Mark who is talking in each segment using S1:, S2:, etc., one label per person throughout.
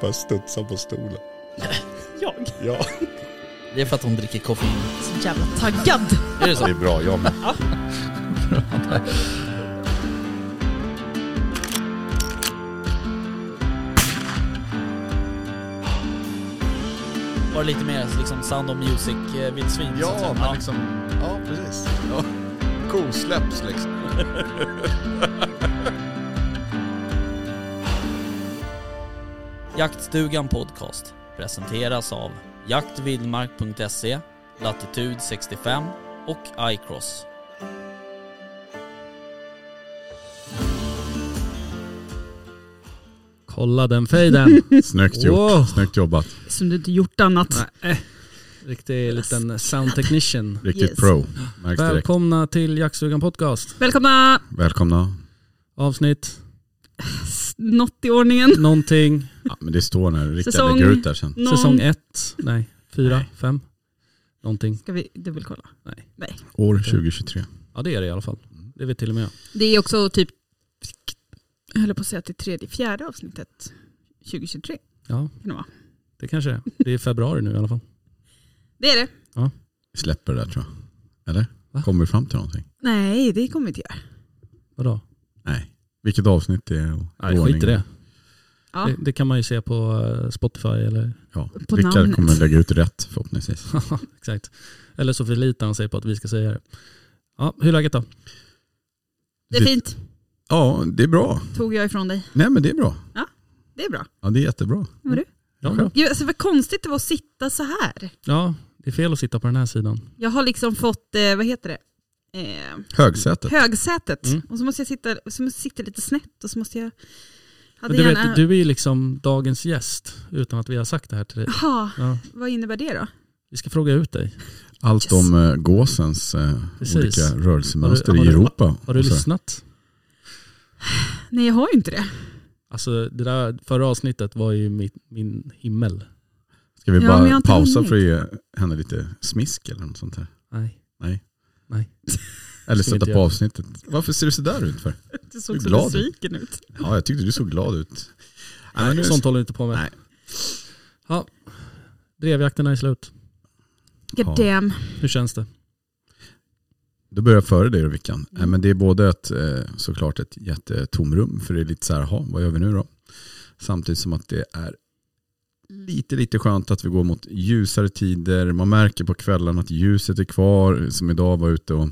S1: Bara studsar på stolen.
S2: Jag?
S1: Ja,
S2: Det är för att hon dricker koffein.
S3: Så jävla taggad.
S2: Är det
S1: det
S2: så?
S1: är bra. Jag med.
S2: Var det lite mer liksom Sound of eh, Music-vildsvin?
S1: Ja, men liksom... Ja, precis. Ja. Kosläpps liksom.
S2: Jaktstugan Podcast presenteras av jaktvildmark.se, Latitude 65 och iCross.
S4: Kolla den fejden.
S5: Snyggt gjort.
S4: Wow.
S5: Snyggt jobbat.
S3: Som du inte gjort annat.
S4: Nej. eh. Riktig liten sound technician.
S5: Riktigt
S3: Yes.
S5: pro. Märks direkt.
S4: Välkomna till Jaktstugan Podcast.
S3: Välkomna!
S5: Välkomna.
S4: Avsnitt
S3: Något i ordningen.
S4: någonting.
S5: Ja, men det står när riktiga
S3: Säsong-
S5: lägger ut där sen.
S3: Någon...
S4: Säsong ett. Nej, fyra, fem. Någonting.
S3: Ska vi dubbelkolla?
S4: Nej.
S5: År 2023.
S4: Ja det är det i alla fall. Det vet till och med jag.
S3: Det är också typ, jag höll på att säga att det är tredje, fjärde avsnittet 2023.
S4: Ja,
S3: Kan det, vara.
S4: det kanske det är. Det är februari nu i alla fall.
S3: det är det.
S5: Vi släpper det där tror jag. Eller?
S4: Va?
S5: Kommer vi fram till någonting?
S3: Nej, det kommer vi inte göra.
S4: Vadå?
S5: Nej. Vilket avsnitt det är och
S4: Nej, skit i det.
S3: Ja.
S4: det. Det kan man ju se på eh, Spotify eller...
S5: Ja.
S3: På
S5: Rickard
S3: namnet.
S5: kommer lägga ut rätt förhoppningsvis.
S4: Exakt. Eller så förlitar han sig på att vi ska säga det. Ja, hur är läget då?
S3: Det är fint.
S5: Ja, det är bra.
S3: Tog jag ifrån dig.
S5: Nej men det är bra.
S3: Det är bra.
S5: Ja, det är jättebra.
S3: Vad var du?
S4: Ja,
S3: Ja, Alltså, vad konstigt det var att sitta så här.
S4: ja, det är fel att sitta på den här sidan.
S3: Jag har liksom fått, eh, vad heter det? Eh,
S5: Högsätet.
S3: högsätet.
S4: Mm.
S3: Och så måste jag sitta, så måste jag sitta lite snett och så måste jag...
S4: Men
S3: Hade
S4: du,
S3: gärna...
S4: vet, du är ju liksom dagens gäst utan att vi har sagt det här till dig.
S3: Jaha,
S4: Ja,
S3: vad innebär det då?
S4: vi ska fråga ut dig.
S5: Allt om eh, gåsens eh,
S4: Precis.
S5: olika rörelsemönster
S4: Har du- har
S5: i
S4: du-
S5: Europa.
S4: Har du
S5: Och så här.
S4: lyssnat?
S3: Nej, jag har ju inte det.
S4: Alltså det där förra avsnittet var ju min, min himmel.
S5: Ska vi
S3: Ja, men jag har
S5: bara
S3: inte
S5: pausa
S3: hunnit.
S5: för att ge henne lite smisk eller något sånt här?
S4: Nej.
S5: Eller
S4: Ska vi inte
S5: sätta på
S4: göra.
S5: avsnittet. Varför ser du sådär ut för?
S3: Du
S5: Du
S3: såg
S5: är
S3: så
S5: glad.
S3: besviken ut.
S5: Ja, jag tyckte du såg glad ut. Nej, nu,
S4: Sånt håller du inte på med.
S5: Nej.
S4: Ja, drevjakterna är slut.
S3: God
S5: Ja.
S3: damn.
S4: Hur känns det?
S5: då börjar jag före dig då Vickan. Nej, men det är både ett, eh, såklart ett jättetomrum, för det är lite så här, "Jaha, vad gör vi nu då? Samtidigt som att det är lite, lite skönt att vi går mot ljusare tider. Man märker på kvällen att ljuset är kvar, som idag var ute och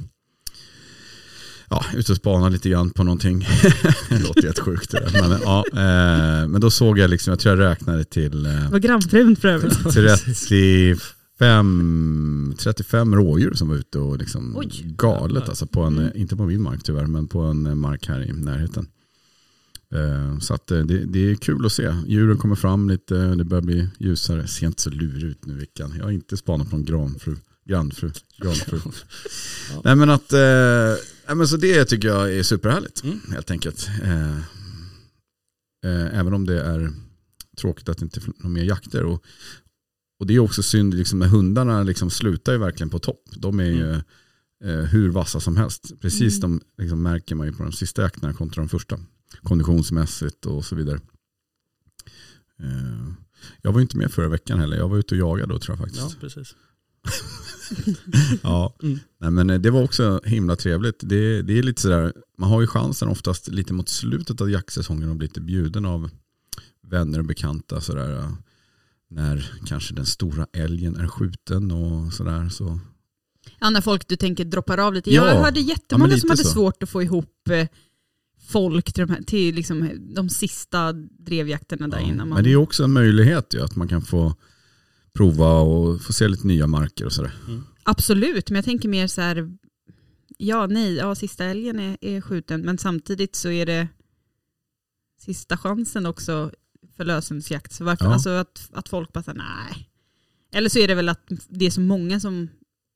S5: Ja, ute och spanade lite grann på någonting. det låter helt sjukt det där. men, ja, eh, men då såg jag liksom, jag tror jag räknade till eh,
S3: Det var grannfrun för övrigt.
S5: 35, 35 rådjur som var ute och liksom
S3: Oj.
S5: galet alltså på en, inte på min mark tyvärr, men på en eh, mark här i närheten. Eh, Så att eh, det, det är kul att se. Djuren kommer fram lite, det börjar bli ljusare. Ser inte så lurig ut nu Vickan. Jag har inte spanat på någon granfru. Grannfru. Granfru. Nej men att, eh, nej, men så det tycker jag är superhärligt
S4: Mm.
S5: helt enkelt. Eh, eh, även om det är tråkigt att det inte är några mer jakter. Och, och det är också synd, liksom, när hundarna liksom slutar ju verkligen på topp. De är ju eh, hur vassa som helst. Precis de liksom, märker man ju på de sista jakterna kontra de första. Konditionsmässigt och så vidare. Eh, jag var ju inte med förra veckan heller. Jag var ute och jagade då tror jag faktiskt.
S4: Ja, precis.
S5: Ja,
S4: Mm.
S5: Nej, men eh, det var också himla trevligt. Det, det är lite sådär, man har ju chansen oftast lite mot slutet av jaktsäsongen att bli lite bjuden av vänner och bekanta sådär. eh, När kanske den stora älgen är skjuten och sådär. Så.
S3: Ja, när folk du tänker droppar av lite.
S5: Ja.
S3: Jag hörde jättemånga
S5: lite
S3: som hade
S5: så.
S3: svårt att få ihop eh, folk till de, här, till liksom de sista drevjakterna där
S5: Ja.
S3: innan. Man...
S5: Men det är ju också en möjlighet ju, att man kan få prova och få se lite nya marker och sådär.
S3: Absolut, men jag tänker mer så här, ja nej, ja, sista älgen är, är skjuten, men samtidigt så är det sista chansen också för lösensjakt. Så varför,
S5: Ja.
S3: alltså att, att folk bara säger nej. Eller så är det väl att det är så många som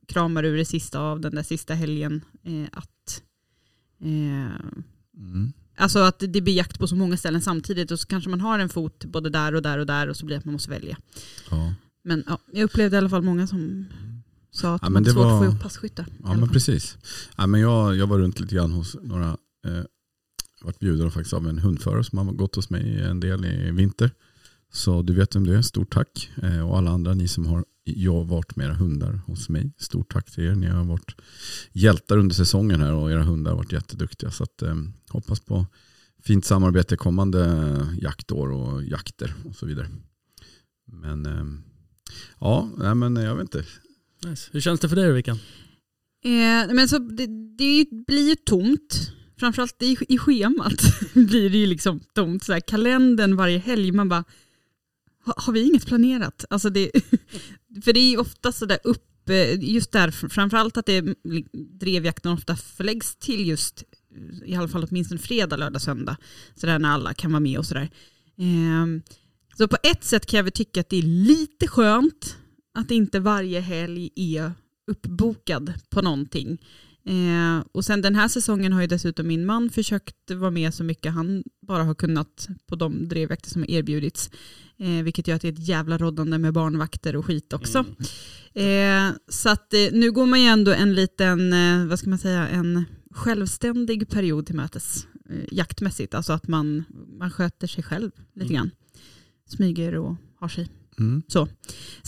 S3: kramar ur det sista av den där sista helgen. Eh, att, eh,
S5: Mm.
S3: alltså att det blir jakt på så många ställen samtidigt och så kanske man har en fot både där och där och där och så blir det att man måste välja.
S5: Ja.
S3: Men ja, jag upplevde i alla fall många som sa att
S5: Ja,
S3: de
S5: men
S3: hade
S5: det
S3: svårt att få
S5: var-
S3: ihop passkyttar. i
S5: Ja
S3: alla
S5: men
S3: fall.
S5: precis. Ja, men jag, jag var runt lite grann hos några eh, varit bjuden faktiskt av en hundförare som har gått hos mig en del i vinter. Så du vet vem det är, stort tack. Eh, Och alla andra ni som har jag har varit med era hundar hos mig. Stort tack till er. Ni har varit hjältar under säsongen här och era hundar har varit jätteduktiga. Så att, eh, hoppas på fint samarbete kommande jaktår och jakter och så vidare. Men eh, ja, nej, men jag vet inte.
S4: Nice. Hur känns det för dig Rickard?
S3: Eh, men så det, det blir ju tomt. Framförallt i, i schemat blir det ju liksom tomt. Så här, kalendern varje helg, man bara, "Ha- har vi inget planerat? Alltså det, för det är ju ofta sådär upp, eh, just där, framförallt att det, drevjakten ofta förläggs till just, eh, i alla fall åtminstone fredag, lördag, söndag. Sådär när alla kan vara med och sådär. Ehm, så på ett sätt kan jag väl tycka att det är lite skönt att inte varje helg är uppbokad på någonting. Eh, och sen den här säsongen har ju dessutom min man försökt vara med så mycket han bara har kunnat på de drevjakter som har erbjudits. Eh, vilket gör att det är ett jävla roddande med barnvakter och skit också. Eh, så att eh, nu går man ju ändå en liten, eh, vad ska man säga, en självständig period till mötes. Eh, jaktmässigt, alltså att man, man sköter sig själv lite grann. Smyger och har sig.
S5: Mm.
S3: Så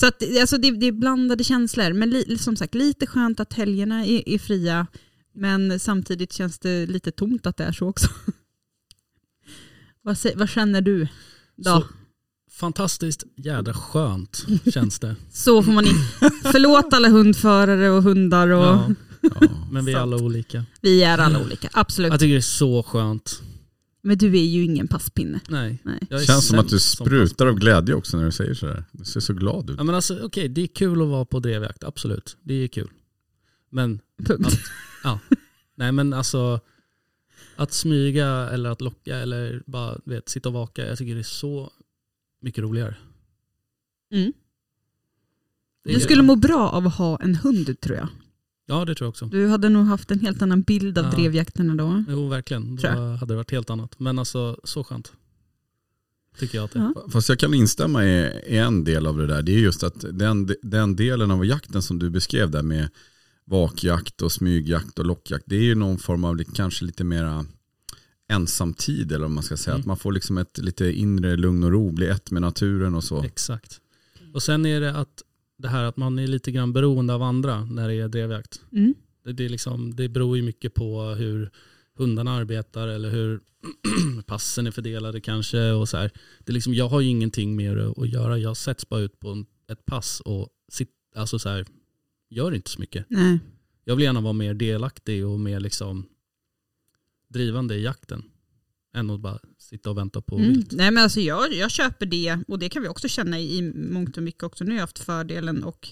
S3: att, alltså, det, det är blandade känslor. Men li, som sagt, lite skönt att helgerna är, är fria. Men samtidigt känns det lite tomt att det är så också. vad, sä- vad känner du? Då?
S4: Så
S3: Så.
S4: fantastiskt jädra skönt känns det.
S3: får man inte. Förlåt alla hundförare och hundar. Och
S4: Ja,
S5: Ja.
S4: men vi är alla olika.
S3: Vi är alla olika, absolut.
S4: Jag tycker det är så skönt.
S3: Men du är ju ingen passpinne.
S4: Nej.
S3: Nej.
S4: jag är
S5: Känns som att du
S4: sämst som
S5: sprutar av glädje också när du säger sådär. Du ser så glad ut.
S4: Ja, men alltså, okej, det är kul att vara på drevjakt, absolut. Det är kul. Men,
S3: Punkt.
S4: nej men alltså, att smyga eller att locka eller bara du vet, sitta och vaka, jag tycker det är så mycket roligare.
S3: Mm.
S4: Det är-
S3: Du skulle må bra av att ha en hund tror jag.
S4: Ja, det tror jag också.
S3: Du hade nog haft en helt annan bild av
S4: Ja.
S3: drevjakterna då.
S4: Jo, verkligen. Då
S3: Tror jag.
S4: hade det varit helt annat. Men alltså, så skönt. Tycker jag att det är.
S3: Ja.
S5: Fast jag kan instämma i i en del av det där. Det är just att den, den delen av jakten som du beskrev där med vakjakt och smygjakt och lockjakt. Det är ju någon form av li- kanske lite mera ensamtid eller om man ska säga.
S4: Mm.
S5: Att man får liksom ett lite inre lugn och ro, bli ett med naturen och så.
S4: Exakt. Och sen är det att det här att man är lite grann beroende av andra när det är drevjakt.
S3: Mm.
S4: Det, det, är liksom, det beror ju mycket på hur hundarna arbetar eller hur passen är fördelade kanske. Och så här. Det är liksom, jag har ju ingenting med det att göra. Jag sätts bara ut på en, ett pass och sit, alltså så här, gör inte så mycket.
S3: Nej.
S4: Jag vill gärna vara mer delaktig och mer liksom drivande i jakten. Än att bara sitta och vänta på
S3: Mm.
S4: vilt.
S3: Nej men alltså jag, jag köper det och det kan vi också känna i i mångt och mycket också. Nu har jag haft fördelen och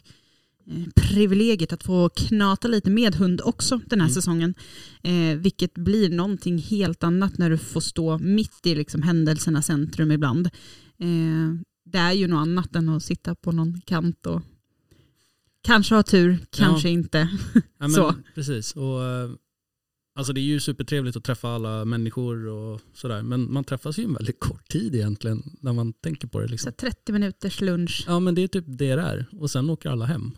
S3: eh, privilegiet att få knata lite med hund också den här
S4: Mm.
S3: säsongen. Eh, vilket blir någonting helt annat när du får stå mitt i liksom händelsernas centrum ibland. Eh, det är ju något annat än att sitta på någon kant och kanske ha tur, kanske inte.
S4: Ja, men,
S3: Så.
S4: Precis. Och, eh, alltså det är ju supertrevligt att träffa alla människor och sådär. Men man träffas ju en väldigt kort tid egentligen när man tänker på det.
S3: Så
S4: Liksom.
S3: här 30 minuters lunch.
S4: Ja men det är typ det det är. Och sen åker alla hem.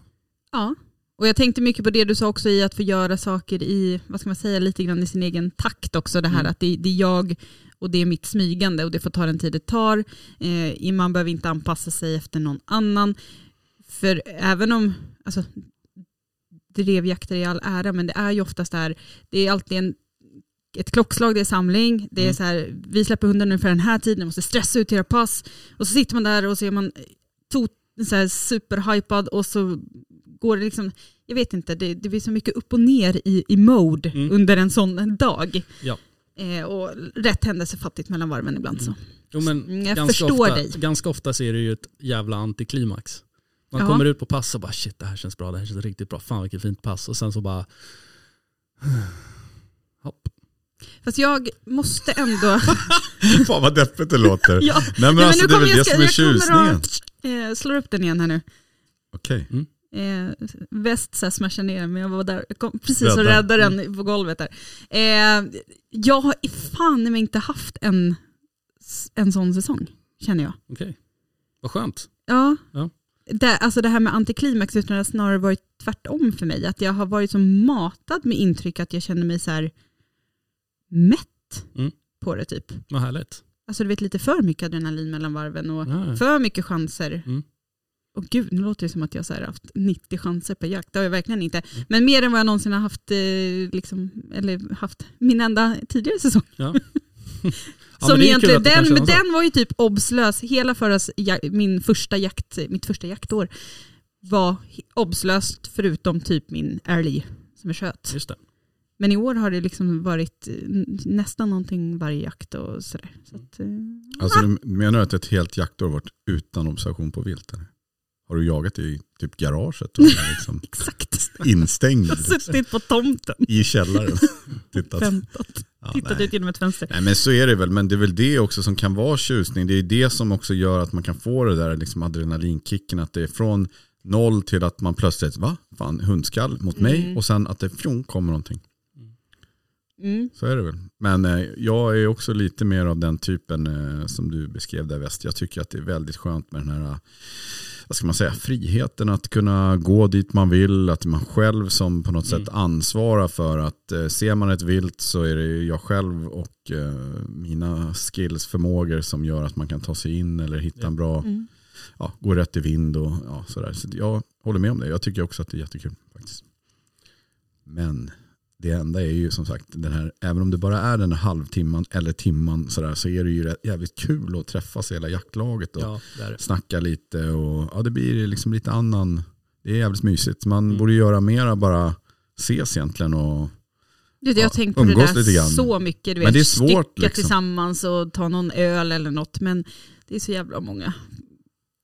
S3: Ja, och jag tänkte mycket på det du sa också i att få göra saker i, vad ska man säga, lite grann i sin egen takt också. Det här
S4: Mm.
S3: att det, det är jag och det är mitt smygande och det får ta den tid det tar. Eh, man behöver inte anpassa sig efter någon annan. För även om, alltså, drevjakter i all ära, men det är ju oftast det här, det är alltid en ett klockslag, det är samling, det är
S4: Mm.
S3: så här, vi släpper hunden nu för den här tiden, måste stressa ut era pass. Och så sitter man där och så är man tot- så här superhypad och så går det liksom, jag vet inte, det, det blir så mycket upp och ner i, i mode
S4: Mm.
S3: under en sån dag.
S4: Ja.
S3: Eh, och rätt händelsefattigt mellan varven ibland så.
S4: Jo, men
S3: Mm, jag
S4: ganska
S3: förstår
S4: ofta,
S3: dig.
S4: Ganska ofta ser det ju ett jävla antiklimax. Man
S3: Ja.
S4: kommer ut på pass och bara shit det här känns bra, det här känns riktigt bra, fan vilket fint pass. Och sen så bara hopp.
S3: Fast jag måste ändå...
S5: Fan vad deppigt det låter.
S3: ja,
S5: Nej men
S3: men
S5: alltså
S3: nu
S5: det är
S3: kommer
S5: väl
S3: jag-
S5: det som är
S3: jag kommer att-
S5: tjusningen.
S3: eh, slår upp den igen här nu.
S5: Okej.
S3: Eh, väst så här smashade ner men jag var där, jag kom precis och
S5: Rädda. Mm.
S3: räddade den på golvet där. Eh, jag har i fan i mig inte haft en, en sån säsong, känner jag.
S4: Okej, vad skönt.
S3: Ja.
S4: Ja.
S3: Det, alltså det här med antiklimax utan det har snarare varit tvärtom för mig. Att jag har varit så matad med intryck att jag känner mig så här mätt.
S4: Mm.
S3: på det typ.
S4: Vad härligt.
S3: Alltså du vet lite för mycket adrenalin mellan varven och
S4: Ja.
S3: för mycket chanser.
S4: Mm.
S3: Och gud, nu låter det som att jag så här haft 90 chanser per jakt. Det har jag verkligen inte.
S4: Mm.
S3: Men mer än vad jag någonsin har haft, eh, liksom, eller haft min enda tidigare säsong.
S4: Ja. Ja, men
S3: Som
S4: det är kul
S3: egentligen,
S4: att det
S3: den,
S4: kan
S3: men
S4: kännas så.
S3: den var ju typ obslös. Hela förra, s- ja- min första jakt, mitt första jaktår var he- obslöst förutom typ min älg som jag sköt.
S4: Just det.
S3: Men i år har det liksom varit eh, n- nästan någonting varje jakt och sådär. Så att, eh,
S5: Alltså du menar att ett helt jaktår varit utan observation på vilt? Eller? Har du jagat i typ garaget? Och liksom
S3: exakt,
S5: instängd liksom,
S3: suttit på tomten.
S5: i källaren. Tittat.
S3: Väntat.
S5: Ja,
S3: Tittat
S5: nej.
S3: ut genom ett fönster.
S5: Nej men så är det väl, men det är väl det också som kan vara tjusning. Det är det som också gör att man kan få det där liksom adrenalinkicken, att det är från noll till att man plötsligt, va? Fan, hundskall mot mig
S3: Mm.
S5: och sen att det fjong kommer någonting.
S3: Mm.
S5: Så är det väl. Men eh, jag är också lite mer av den typen eh, som du beskrev där väst. Jag tycker att det är väldigt skönt med den här, eh, vad ska man säga, friheten att kunna gå dit man vill, att man själv som på något
S4: Mm.
S5: sätt ansvarar för att eh, ser man ett vilt så är det jag själv och eh, mina skills, förmågor som gör att man kan ta sig in eller hitta en bra,
S3: Mm.
S5: ja, gå rätt i vind och ja, sådär. Så jag håller med om det. Jag tycker också att det är jättekul faktiskt. Men det enda är ju som sagt, den här, även om det bara är den här halvtimman eller timman sådär, så är det ju rätt- jävligt kul att träffas hela jaktlaget och
S4: Ja, det är det.
S5: snacka lite. Och, ja, det blir liksom lite annan, det är jävligt mysigt. Man
S4: Mm.
S5: borde göra mera bara ses egentligen. Och,
S3: Du, vet, jag har
S5: Ja,
S3: tänkt på det
S5: umgås
S3: där
S5: lite grann.
S3: så mycket. Du vet,
S5: Men det är svårt,
S3: Stycka
S5: liksom.
S3: tillsammans och ta någon öl eller något. Men det är så jävla många.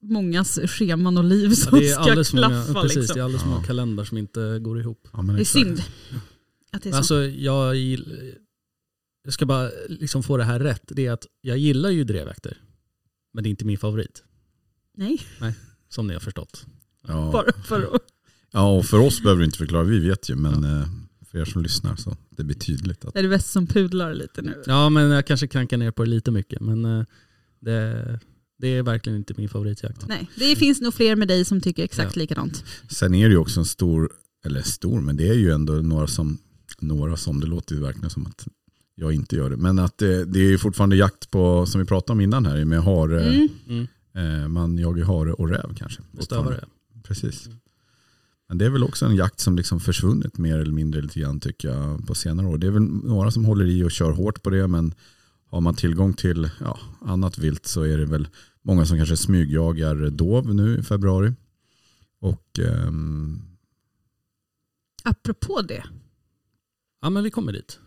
S3: Mångas scheman och liv
S4: Ja,
S3: som
S4: det är
S3: ska
S4: alldeles många,
S3: klaffa.
S4: precis,
S3: liksom.
S4: det är alldeles för många
S5: Ja.
S4: kalendrar som inte går ihop.
S5: ja, men
S3: det är
S5: exakt.
S3: synd att det är så.
S4: Alltså, jag, gill- jag ska bara liksom få det här rätt. Det är att jag gillar ju drevjakter. Men det är inte min favorit,
S3: Nej,
S4: som ni har förstått.
S5: Ja.
S3: bara för att...
S5: ja, och för oss behöver du inte förklara, vi vet ju. Men eh, för er som lyssnar så det blir tydligt att
S3: Det är det bäst som pudlar lite nu.
S4: Ja, men jag kanske klankar ner på det lite mycket. Men eh, det, det är verkligen inte min favoritjakt.
S3: Nej, det finns nog fler med dig som tycker exakt likadant.
S5: Sen är det ju också en stor, eller stor, men det är ju ändå några som, några som, det låter ju verkligen som att jag inte gör det. Men att det, det är ju fortfarande jakt på, som vi pratade om innan här, med hare,
S3: Mm.
S4: Mm.
S5: eh, man jagar hare och räv kanske.
S4: Stövare.
S5: Precis.
S4: Mm.
S5: Men det är väl också en jakt som liksom försvunnit mer eller mindre lite grann tycker jag på senare år. Det är väl några som håller i och kör hårt på det men har man tillgång till ja, annat vilt så är det väl många som kanske smygjagar dov nu i februari. Och ehm,
S3: Apropå det,
S4: Ja, men vi kommer dit.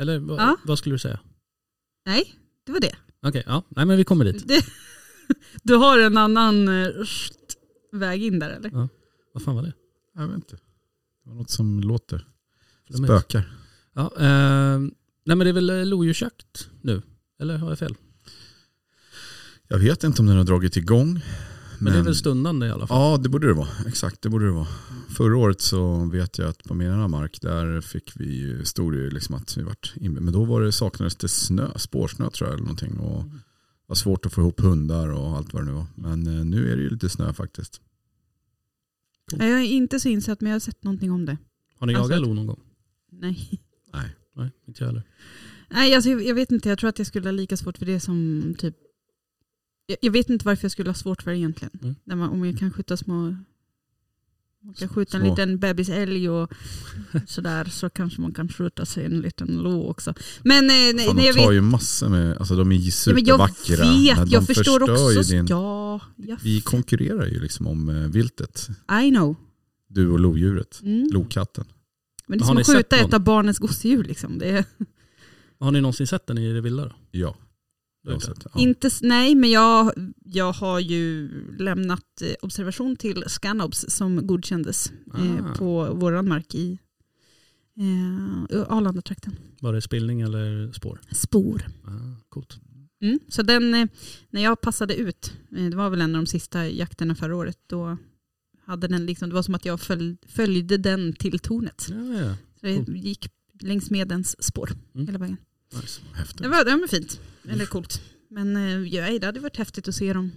S4: Eller vad,
S3: Ja.
S4: vad skulle du säga?
S3: nej, det var det.
S4: Okej, ja. Nej, men vi kommer dit.
S3: det. Du har en annan eh, sht, väg in där eller?
S4: Vad fan var det?
S5: jag vet inte, det var något som låter,
S4: Flummigt.
S5: spökar.
S4: Ja, eh, nej, men det är väl eh, lodjursjakt nu? Eller har jag fel?
S5: Jag vet inte om den har dragit igång.
S4: Men, det är väl stundande i alla fall?
S5: Ja, det borde det vara. Exakt, det borde det vara. Förra året så vet jag att på min ena mark, där fick vi, ju- stod det ju liksom att vi vart inbe- Men då var det, saknades det snö, spårsnö tror jag eller någonting.
S4: Mm.
S5: Och det var svårt att få ihop hundar och allt vad det nu var. Men eh, nu är det ju lite snö faktiskt.
S3: Nej, Jag är inte så insatt men jag har sett någonting om det.
S4: Har ni jagat
S3: Alltså-
S4: lo någon gång?
S3: Nej.
S5: Nej.
S4: Nej, inte jag heller.
S3: Nej, alltså, jag jag vet inte. Jag tror att jag skulle ha lika svårt för det som typ... Jag, jag vet inte varför jag skulle ha svårt för det egentligen.
S4: Mm.
S3: När man, om jag kan skjuta små... Man kan
S5: S-
S3: skjuta en
S5: små.
S3: liten bebisälg och sådär så kanske man kan skjuta sig en liten lo också. Men eh, nej, nej,
S5: Fan, de
S3: jag
S5: tar
S3: vet...
S5: ju massor med, alltså de är ju
S3: Ja, men jag
S5: supervackra. men
S3: vet,
S5: de
S3: jag förstår
S5: förstör
S3: också.
S5: ju din-
S3: Ja, jag,
S5: Vi konkurrerar ju liksom om eh, viltet.
S3: I know.
S5: Du och lodjuret.
S3: Mm.
S5: Lokatten.
S3: Men det är
S4: Har
S3: som
S4: ni
S3: att skjuta
S4: sett
S3: ett
S4: någon?
S3: av barnens gosedjur. Liksom. Det är...
S4: Har ni någonsin sett den i det vilda då?
S5: Ja.
S4: Du har gjort
S5: Så
S4: det?
S5: att, ja.
S3: Inte, s- nej, men jag, jag har ju lämnat eh, observation till Scanobs som godkändes eh,
S4: Ah.
S3: på våran mark i eh, Arlandatrakten.
S4: Var det spillning eller spår?
S3: Spor.
S4: Ah, coolt.
S3: Mm, så den, eh, när jag passade ut, eh, det var väl en av de sista jakterna förra året, då hade den liksom, det var som att jag följ, följde den till tornet. Så
S4: Ja, ja.
S3: det gick längs med dens spår
S4: Mm.
S3: hela vägen.
S4: Nice.
S5: Häftigt.
S3: Det var, det var fint, eller coolt. Men eh, ja, det hade varit häftigt att se dem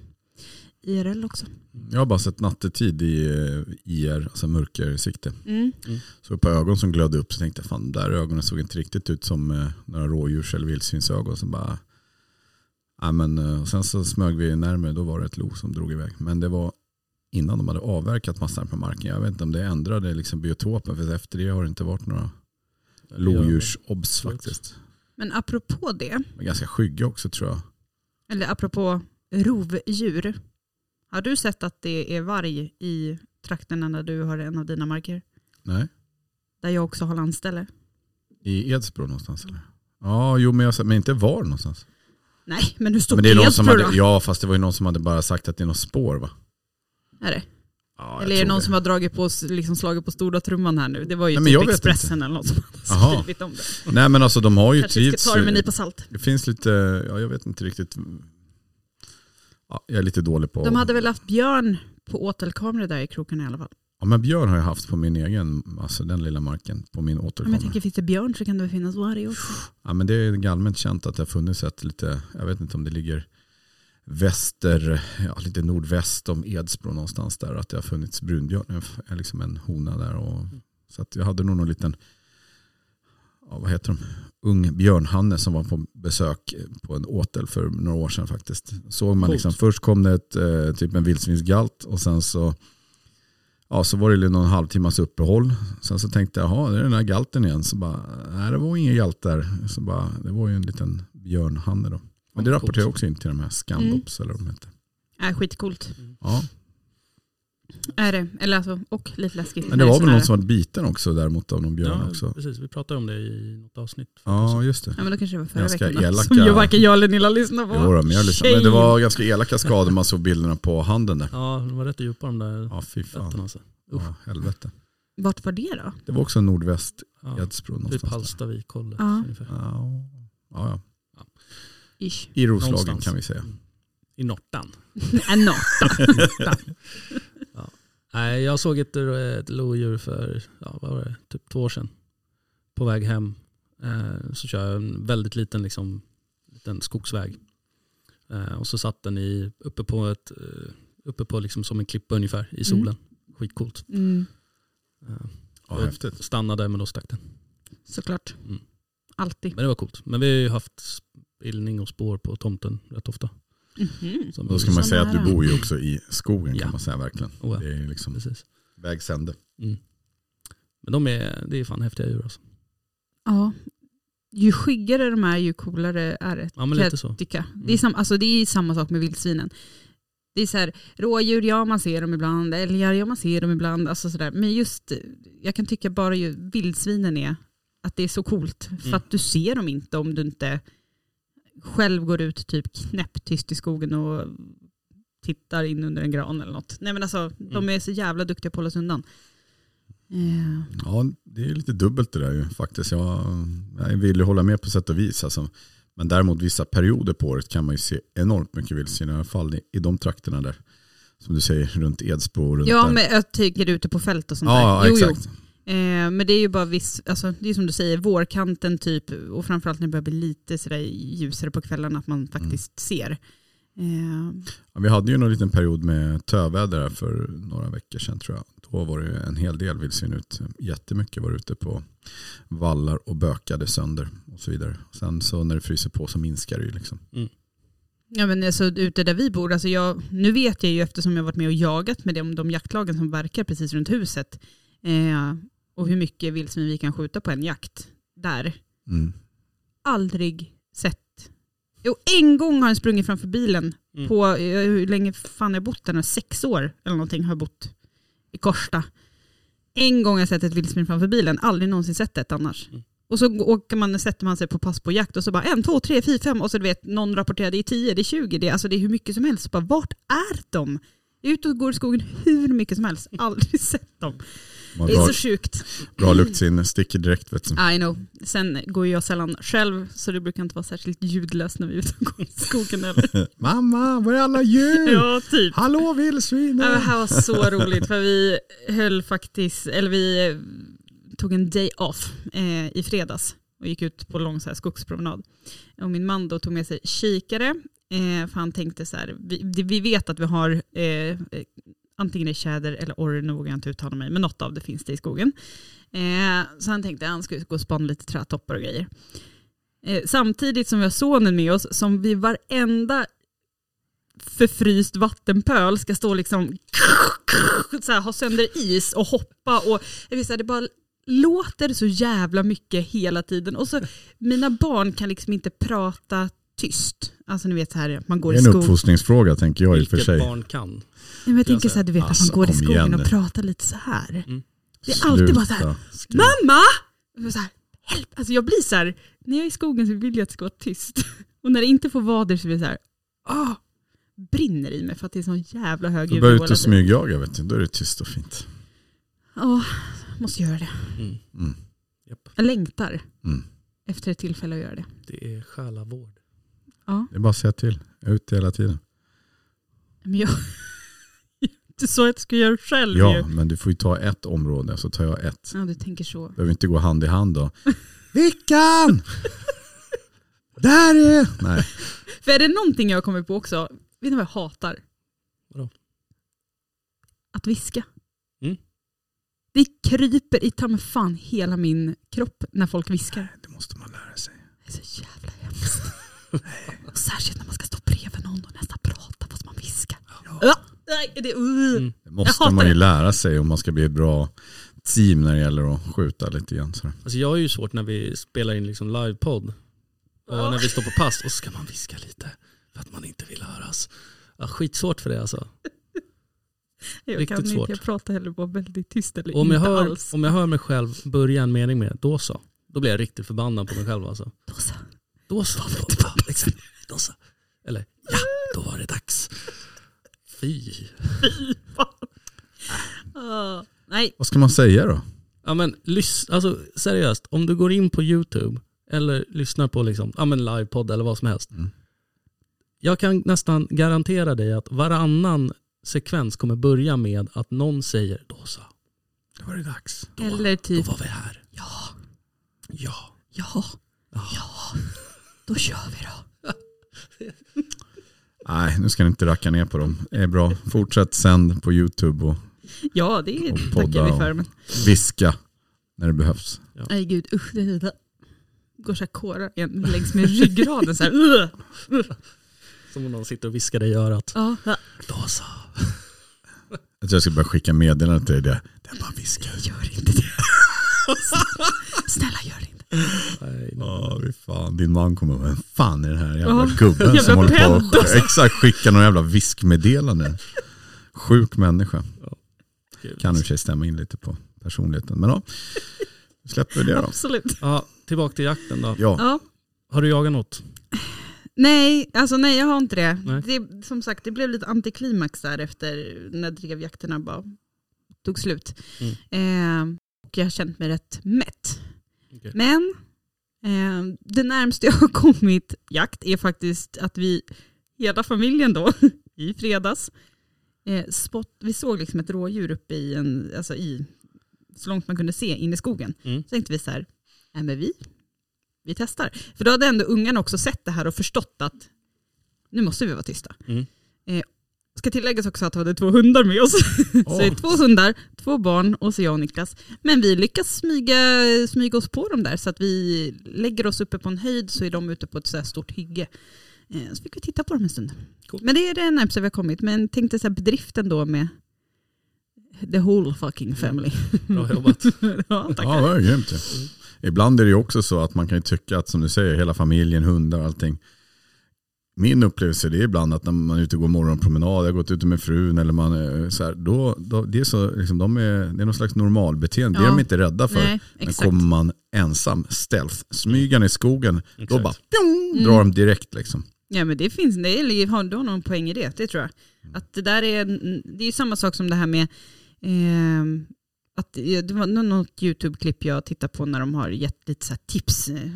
S3: IRL också.
S5: Jag har bara sett nattetid i eh, IR, alltså mörkersikte.
S3: Mm.
S5: Så på ögon som glödde upp så tänkte jag fan där ögonen såg inte riktigt ut som eh, några rådjurs eller vildsvinsögon. Så bara, ja, men, eh, och sen så smög vi närmare, då var det ett lo som drog iväg. Men det var innan de hade avverkat massan på marken. Jag vet inte om det ändrade liksom biotopen för efter det har det inte varit några lodjursobs
S4: Ja.
S5: faktiskt.
S3: Men apropå det,
S5: De är ganska skygga också tror jag.
S3: eller apropå rovdjur. Har du sett att det är varg i trakterna när du har en av dina marker?
S5: Nej,
S3: Där jag också har landställe.
S5: i Edsbro någonstans eller? Ja, jo men, jag, sa- men inte var någonstans.
S3: Nej, men hur stort
S5: Men det är någon som
S3: Edsbro då?
S5: hade, ja fast det var ju någon som hade bara sagt att det är något spår va?
S3: Är det?
S5: Ja, jag
S3: Eller är det
S5: tror
S3: någon som har dragit på, liksom slagit på stora trumman här nu? Det var ju
S5: Nej, men jag
S3: typ
S5: vet
S3: Expressen eller något som hade
S5: Aha.
S3: skrivit om det.
S5: Nej men alltså de har ju typ
S3: Kanske vi
S5: trivts.
S3: ska ta det med en nypa salt.
S5: Det finns lite, ja, jag vet inte riktigt. Ja, jag är lite dålig på...
S3: De hade väl haft björn på åtelkamera där i kroken i alla fall.
S5: Ja, men björn har jag haft på min egen, alltså den lilla marken, på min
S3: Ja, men
S5: återkommer.
S3: jag tänker, finns det björn så kan det väl finnas varg också.
S5: Ja, men det är allmänt känt att det har funnits ett lite, jag vet inte om det ligger väster, ja, lite nordväst om Edsbro någonstans där, att det har funnits brunbjörn, en f- liksom en hona där. Och, så att jag hade nog någon liten, ja, vad heter de, ung björnhanne som var på besök på en åtel för några år sedan faktiskt. Såg man
S4: Coolt.
S5: liksom, först kom det ett, eh, typ en vildsvinsgalt och sen så Ja, så var det ju någon halvtimmas uppehåll. Sen så tänkte jag, jaha, det är den här galten igen. Så bara, nej det var ingen galt där. Så bara, det var ju en liten björnhanne då. Men det
S4: Ja,
S5: rapporterar jag
S4: coolt. Mm.
S5: också in till de här Scandops eller vad de heter.
S3: Äh, skitcoolt
S5: Ja.
S3: är det. Eller alltså, och lite läskigt.
S5: Men det var väl någon
S3: något
S5: som hade biten också däremot av någon björn
S4: Ja,
S5: också.
S4: precis. Vi pratade om det i något avsnitt.
S5: Ja, just det.
S3: Ja men då kanske det var förra
S5: Ganska
S3: veckan då,
S5: elaka-
S3: Som ju varken jag eller Nilla lyssnade på.
S5: Jo, då, men, jag lyssnade. men det var ganska elaka skador man såg bilderna på handen där.
S4: Ja, de var rätt djupa de där
S5: Ja, fy
S4: fötterna.
S5: fan.
S4: Alltså.
S5: Ja, helvete.
S3: Vart var det då?
S5: Det var också nordväst
S4: Ja,
S5: Edsbro
S4: typ
S5: någonstans. där.
S4: Hallstavikhållet.
S3: Ja.
S4: ungefär.
S5: Ja, ja, ja.
S3: Ish.
S5: I Roslagen
S4: Någonstans.
S5: kan vi säga.
S4: Mm. I Nortan.
S3: Äh, no.
S4: Nej, jag såg ett, eh, ett lodjur för ja, vad var det? typ två år sedan. På väg hem eh, så kör jag en väldigt liten, liksom, liten skogsväg. Eh, och så satt den i, uppe på, ett, eh, uppe på liksom, som en klippa ungefär i solen. Skitcoolt.
S3: Mm,
S4: Eh,
S5: Ja,
S4: och
S5: häftigt.
S4: Stannade men då stack den.
S3: såklart.
S4: Mm.
S3: Alltid.
S4: Men det var coolt. Men vi har ju haft spillning och spår på tomten rätt ofta.
S3: Mhm.
S4: Som
S5: Då ska man
S3: Så
S5: säga att du
S3: nära.
S5: bor ju också i skogen
S4: Ja.
S5: kan man säga verkligen.
S4: Oh, ja.
S5: Det är liksom
S4: Precis.
S5: vägs ände.
S4: Men de är, det är fan häftiga djur alltså.
S3: Ja. Ju skyggare de är ju coolare är det.
S4: Ja men lite så.
S3: tycka. Det,
S5: Mm.
S3: är sam, alltså det är samma sak med vildsvinen. Det är så här, rådjur, ja man ser dem ibland, älgar, ja man ser dem ibland. Alltså så där. Men just, jag kan tycka bara ju vildsvinen är, att det är så coolt. För
S4: Mm.
S3: att du ser dem inte om du inte själv går ut typ knäpptyst i skogen och tittar in under en gran eller något. Nej men alltså,
S5: Mm.
S3: de är så jävla duktiga på att hålla sig undan. Eh,
S5: Ja, det är lite dubbelt det där ju faktiskt. Jag, jag vill ju hålla med på sätt och vis. Alltså. Men däremot vissa perioder på året kan man ju se enormt mycket vildsvin. I alla fall i, i de trakterna där. Som du säger, runt Edsbo och runt
S3: ja
S5: där.
S3: men jag tycker ute på fält och sånt
S5: ja,
S3: där.
S5: exakt.
S3: Eh, men det är ju bara viss, alltså, det är som du säger, vårkanten typ och framförallt när det börjar bli lite sådär ljusare på kvällen att man faktiskt ser. Eh,
S5: Ja, vi hade ju någon liten period med töväder här för några veckor sedan tror jag. Då var det ju en hel del vildsvin ut. Jättemycket var ute på vallar och bökade sönder och så vidare. Sen så när det fryser på så minskar det ju liksom.
S3: ja men alltså ute där vi bor, alltså jag, nu vet jag ju eftersom jag varit med och jagat med de, de jaktlagen som verkar precis runt huset eh, och hur mycket vildsvin vi kan skjuta på en jakt där.
S5: Mm.
S3: Aldrig sett. Jo, en gång har den sprungit framför bilen
S4: Mm.
S3: på, eh, hur länge fan har jag bott där nu? Sex år eller någonting har jag bott i Korsta. En gång har jag sett ett vildsvin framför bilen, aldrig någonsin sett ett annars.
S4: Mm.
S3: Och så åker man, sätter man sig på pass på jakt och så bara en, två, tre, fyra, fem och så du vet någon rapporterar det är tio, det är tjugo, det är, alltså, det är hur mycket som helst. Så bara, vart är de? Jag är ute och går i skogen hur mycket som helst, aldrig sett dem.
S5: Man
S3: Det är
S5: drar,
S3: så sjukt.
S5: bra luktsinne, sticker direkt vet du.
S3: I know. Sen går jag sällan själv så det brukar inte vara särskilt ljudlöst när vi är ute och går i skogen. Eller?
S5: Mamma, var är alla djur?
S3: Ja, Äh, typ.
S5: Hallå vildsvin!
S3: Ja, Det här var så roligt för vi höll faktiskt, eller vi eh, tog en day off eh, i fredags och gick ut på lång så här skogspromenad. Och min man då tog med sig kikare, Eh, för han tänkte så här, vi, det- vi vet att vi har eh, eh, antingen det är tjäder eller orre, nu vågar jag inte uttala mig, men något av det finns det i skogen. Eh, så han tänkte att han skulle gå och spana lite trätoppar och grejer. Eh, samtidigt som vi har sonen med oss, som vid varenda förfryst vattenpöl ska stå liksom så här, ha sönder is och hoppa och jag vill säga, det bara låter så jävla mycket hela tiden. Och så mina barn kan liksom inte prata tyst. Alltså ni vet så här, man går
S5: Det
S3: i
S5: är en
S3: skogen.
S5: uppfostringsfråga tänker jag i och för
S4: Vilket
S5: sig.
S4: barn kan.
S3: Nej, men jag
S4: Ska jag
S3: tänker så här, du vet
S5: Alltså,
S3: att man går i
S5: kom
S3: skogen
S5: igen nu.
S3: och pratar lite så här. Det är alltid bara så här,
S5: Sluta skriva.
S3: mamma! Jag blir så här, Help! Alltså jag blir så här, när jag är i skogen så vill jag att det ska vara tyst. Och när det inte får vara det så blir det så här, ah, brinner i mig för att det är sån jävla hög
S5: Du börjar
S3: ljudnivå
S5: ut och
S3: hela tiden.
S5: smygjaga vet du. Då är det tyst och fint.
S3: Ja, måste göra det.
S4: Mm.
S5: Mm.
S4: Japp.
S3: Jag längtar
S5: Mm.
S3: efter ett tillfälle att göra det.
S4: Det är själavård.
S3: Ja,
S5: Det är bara att säga till. Ut hela tiden.
S3: men jag... Du sa att du skulle göra det själv ju.
S5: Ja, men du får ju ta ett område så tar jag ett.
S3: Ja, du tänker så.
S5: Behöver inte gå hand i hand då. Vickan! Där är... Nej.
S3: För är det någonting jag har kommit på också, vet ni vad jag hatar?
S4: Vadå?
S3: Att viska.
S4: Mm.
S3: Det kryper i ta mig fan hela min kropp när folk viskar.
S5: Det måste man lära sig.
S3: Det är så jävla hemskt. och särskilt när man ska stå bredvid någon och nästan prata fast man viskar. Ja. Nej, det, uh.
S4: Mm.
S5: Det
S3: Jag
S5: måste
S3: hatar
S5: man ju
S3: det.
S5: lära sig om man ska bli ett bra team när det gäller att skjuta lite grann. sådär.
S4: Alltså jag har ju svårt när vi spelar in liksom livepodd. Och när vi står på pass och så ska man viska lite för att man inte vill höras. Ja, skitsvårt för det alltså.
S3: jag
S4: riktigt
S3: kan inte,
S4: svårt.
S3: jag pratar heller bara väldigt tyst eller
S4: Och om,
S3: inte
S4: jag hör,
S3: alls.
S4: om jag hör mig själv börja en mening med då så. Då blir jag riktigt förbannad på mig själv alltså.
S3: Då så.
S4: Då så. Då, ja, exakt. Då så. Eller ja, då var det dags. Fy.
S3: Ah, nej,
S5: Vad ska man säga då?
S4: Ja men lys- alltså, seriöst, om du går in på YouTube eller lyssnar på liksom, ja, men livepodd eller vad som helst.
S5: Mm.
S4: Jag kan nästan garantera dig att varannan sekvens kommer börja med att någon säger då så,
S5: Då var det dags.
S4: då,
S3: eller
S4: då
S3: typ
S4: var vi här.
S3: ja,
S4: Ja.
S3: ja,
S4: Ja.
S3: ja, då kör vi då.
S5: Nej, nu ska ni inte racka ner på dem. Det är bra. Fortsätt sänd på YouTube och
S3: Ja, det
S5: Och podda
S3: tackar vi
S5: och-
S3: för. Men,
S5: viska när det behövs.
S3: nej gud, usch. Det, det går så här kårar igen längs med ryggraden. Så här, "Ugh."
S4: Som om någon sitter och viskar dig i örat.
S3: ja, ja,
S4: Då så.
S5: Jag tror jag ska börja skicka meddelanden till dig. Det det är bara viska.
S3: gör inte det. Snälla gör det inte.
S4: Nej, nej.
S5: Ja, fy fan. Din man kommer vem fan är den här jävla
S3: Ja,
S5: gubben
S3: jävla
S5: som håller på och
S3: peddo.
S5: sk- exakt, skickar någon jävla viskmeddelande. Sjuk människa.
S4: Gud.
S5: Kan i och för sig stämma in lite på personligheten. Men ja, vi släpper det då.
S3: Absolut.
S4: Ja, tillbaka till jakten då.
S5: Ja,
S3: Ja.
S4: Har du jagat något?
S3: Nej, alltså nej jag har inte det.
S4: Nej.
S3: det. Som sagt, det blev lite antiklimax där efter när drevjakterna bara tog slut.
S4: Mm.
S3: Eh, och jag har känt mig rätt mätt.
S4: Okej.
S3: Men eh, det närmaste jag har kommit jakt är faktiskt att vi, hela familjen då, i fredags, eh, spott, vi såg liksom ett rådjur uppe i en, alltså i, så långt man kunde se in i skogen.
S4: Mm.
S3: Så tänkte vi så här, nej men vi, vi testar. För då hade ändå ungarna också sett det här och förstått att nu måste vi vara tysta.
S4: Mm.
S3: Eh, ska tilläggas också att vi hade två hundar med oss. så det är två hundar, två barn och så jag och Niklas. Men vi lyckas smyga, smyga oss på dem där så att vi lägger oss uppe på en höjd så är de ute på ett så här stort hygge. Eh, så fick vi titta på dem en stund.
S4: Coolt.
S3: Men det är det närmaste vi har kommit. Men tänkte så här bedriften då med the whole fucking family.
S4: Bra jobbat.
S3: ja, tack.
S5: Mm. ja det var ju grymt ju. Ibland är det ju också så att man kan ju tycka att som du säger, hela familjen, hundar, allting. Min upplevelse det är ibland att när man är ute och går morgonpromenad, jag har gått ute med frun eller man eh, så här, då, då, det är så, liksom, de är, det är någon slags normalbeteende. Det är
S3: Ja.
S5: de inte rädda för.
S3: Nej,
S5: Men
S3: exakt.
S5: kommer man ensam, stealth, smygande i skogen, då
S4: Exakt.
S5: bara
S3: Mm.
S5: pjong, drar de direkt liksom.
S3: Ja men det finns, det är, har då någon poäng i det, det tror jag.
S4: Mm.
S3: Att det där är, det är ju samma sak som det här med, ehm, att det det var nå- något YouTube-klipp jag tittade på när de har gett lite så här tips eh,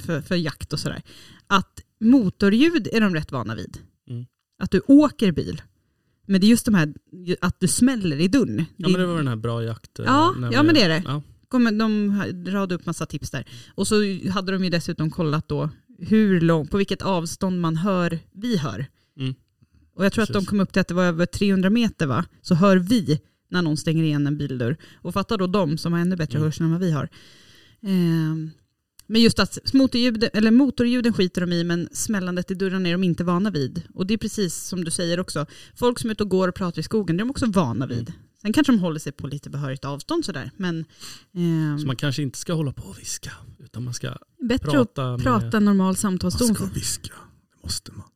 S3: för, för jakt och sådär. Att motorljud är de rätt vana vid.
S4: Mm.
S3: Att du åker bil. Men det är just de här, att du smäller i dörren.
S4: Ja men det var den här bra jakt. eh,
S3: Ja,
S4: när
S3: ja,
S4: vi-
S3: men det är det.
S4: Ja.
S3: Kommer- de radade upp massa tips där. Och så hade de ju dessutom kollat då hur lång, på vilket avstånd man hör, vi hör.
S4: Mm.
S3: Och jag tror att de
S4: Precis.
S3: kom upp till att det var över 300 meter va? Så hör vi när någon stänger igen en bildörr. Och fatta då de som har ännu bättre
S4: Mm.
S3: hörsel än vad vi har. Ehm, men just att motorljud, eller motorljuden skiter de i men smällandet i dörren är de inte vana vid. Och det är precis som du säger också. Folk som är ute och går och pratar i skogen, det är de också vana vid.
S5: Mm.
S3: Sen kanske de håller sig på lite behörigt avstånd sådär. Men ehm,
S4: Så man kanske inte ska hålla på och viska, utan man ska
S3: bättre att
S4: prata med...
S3: prata normal
S5: Man
S3: samtalston.
S5: ska viska. Det måste man.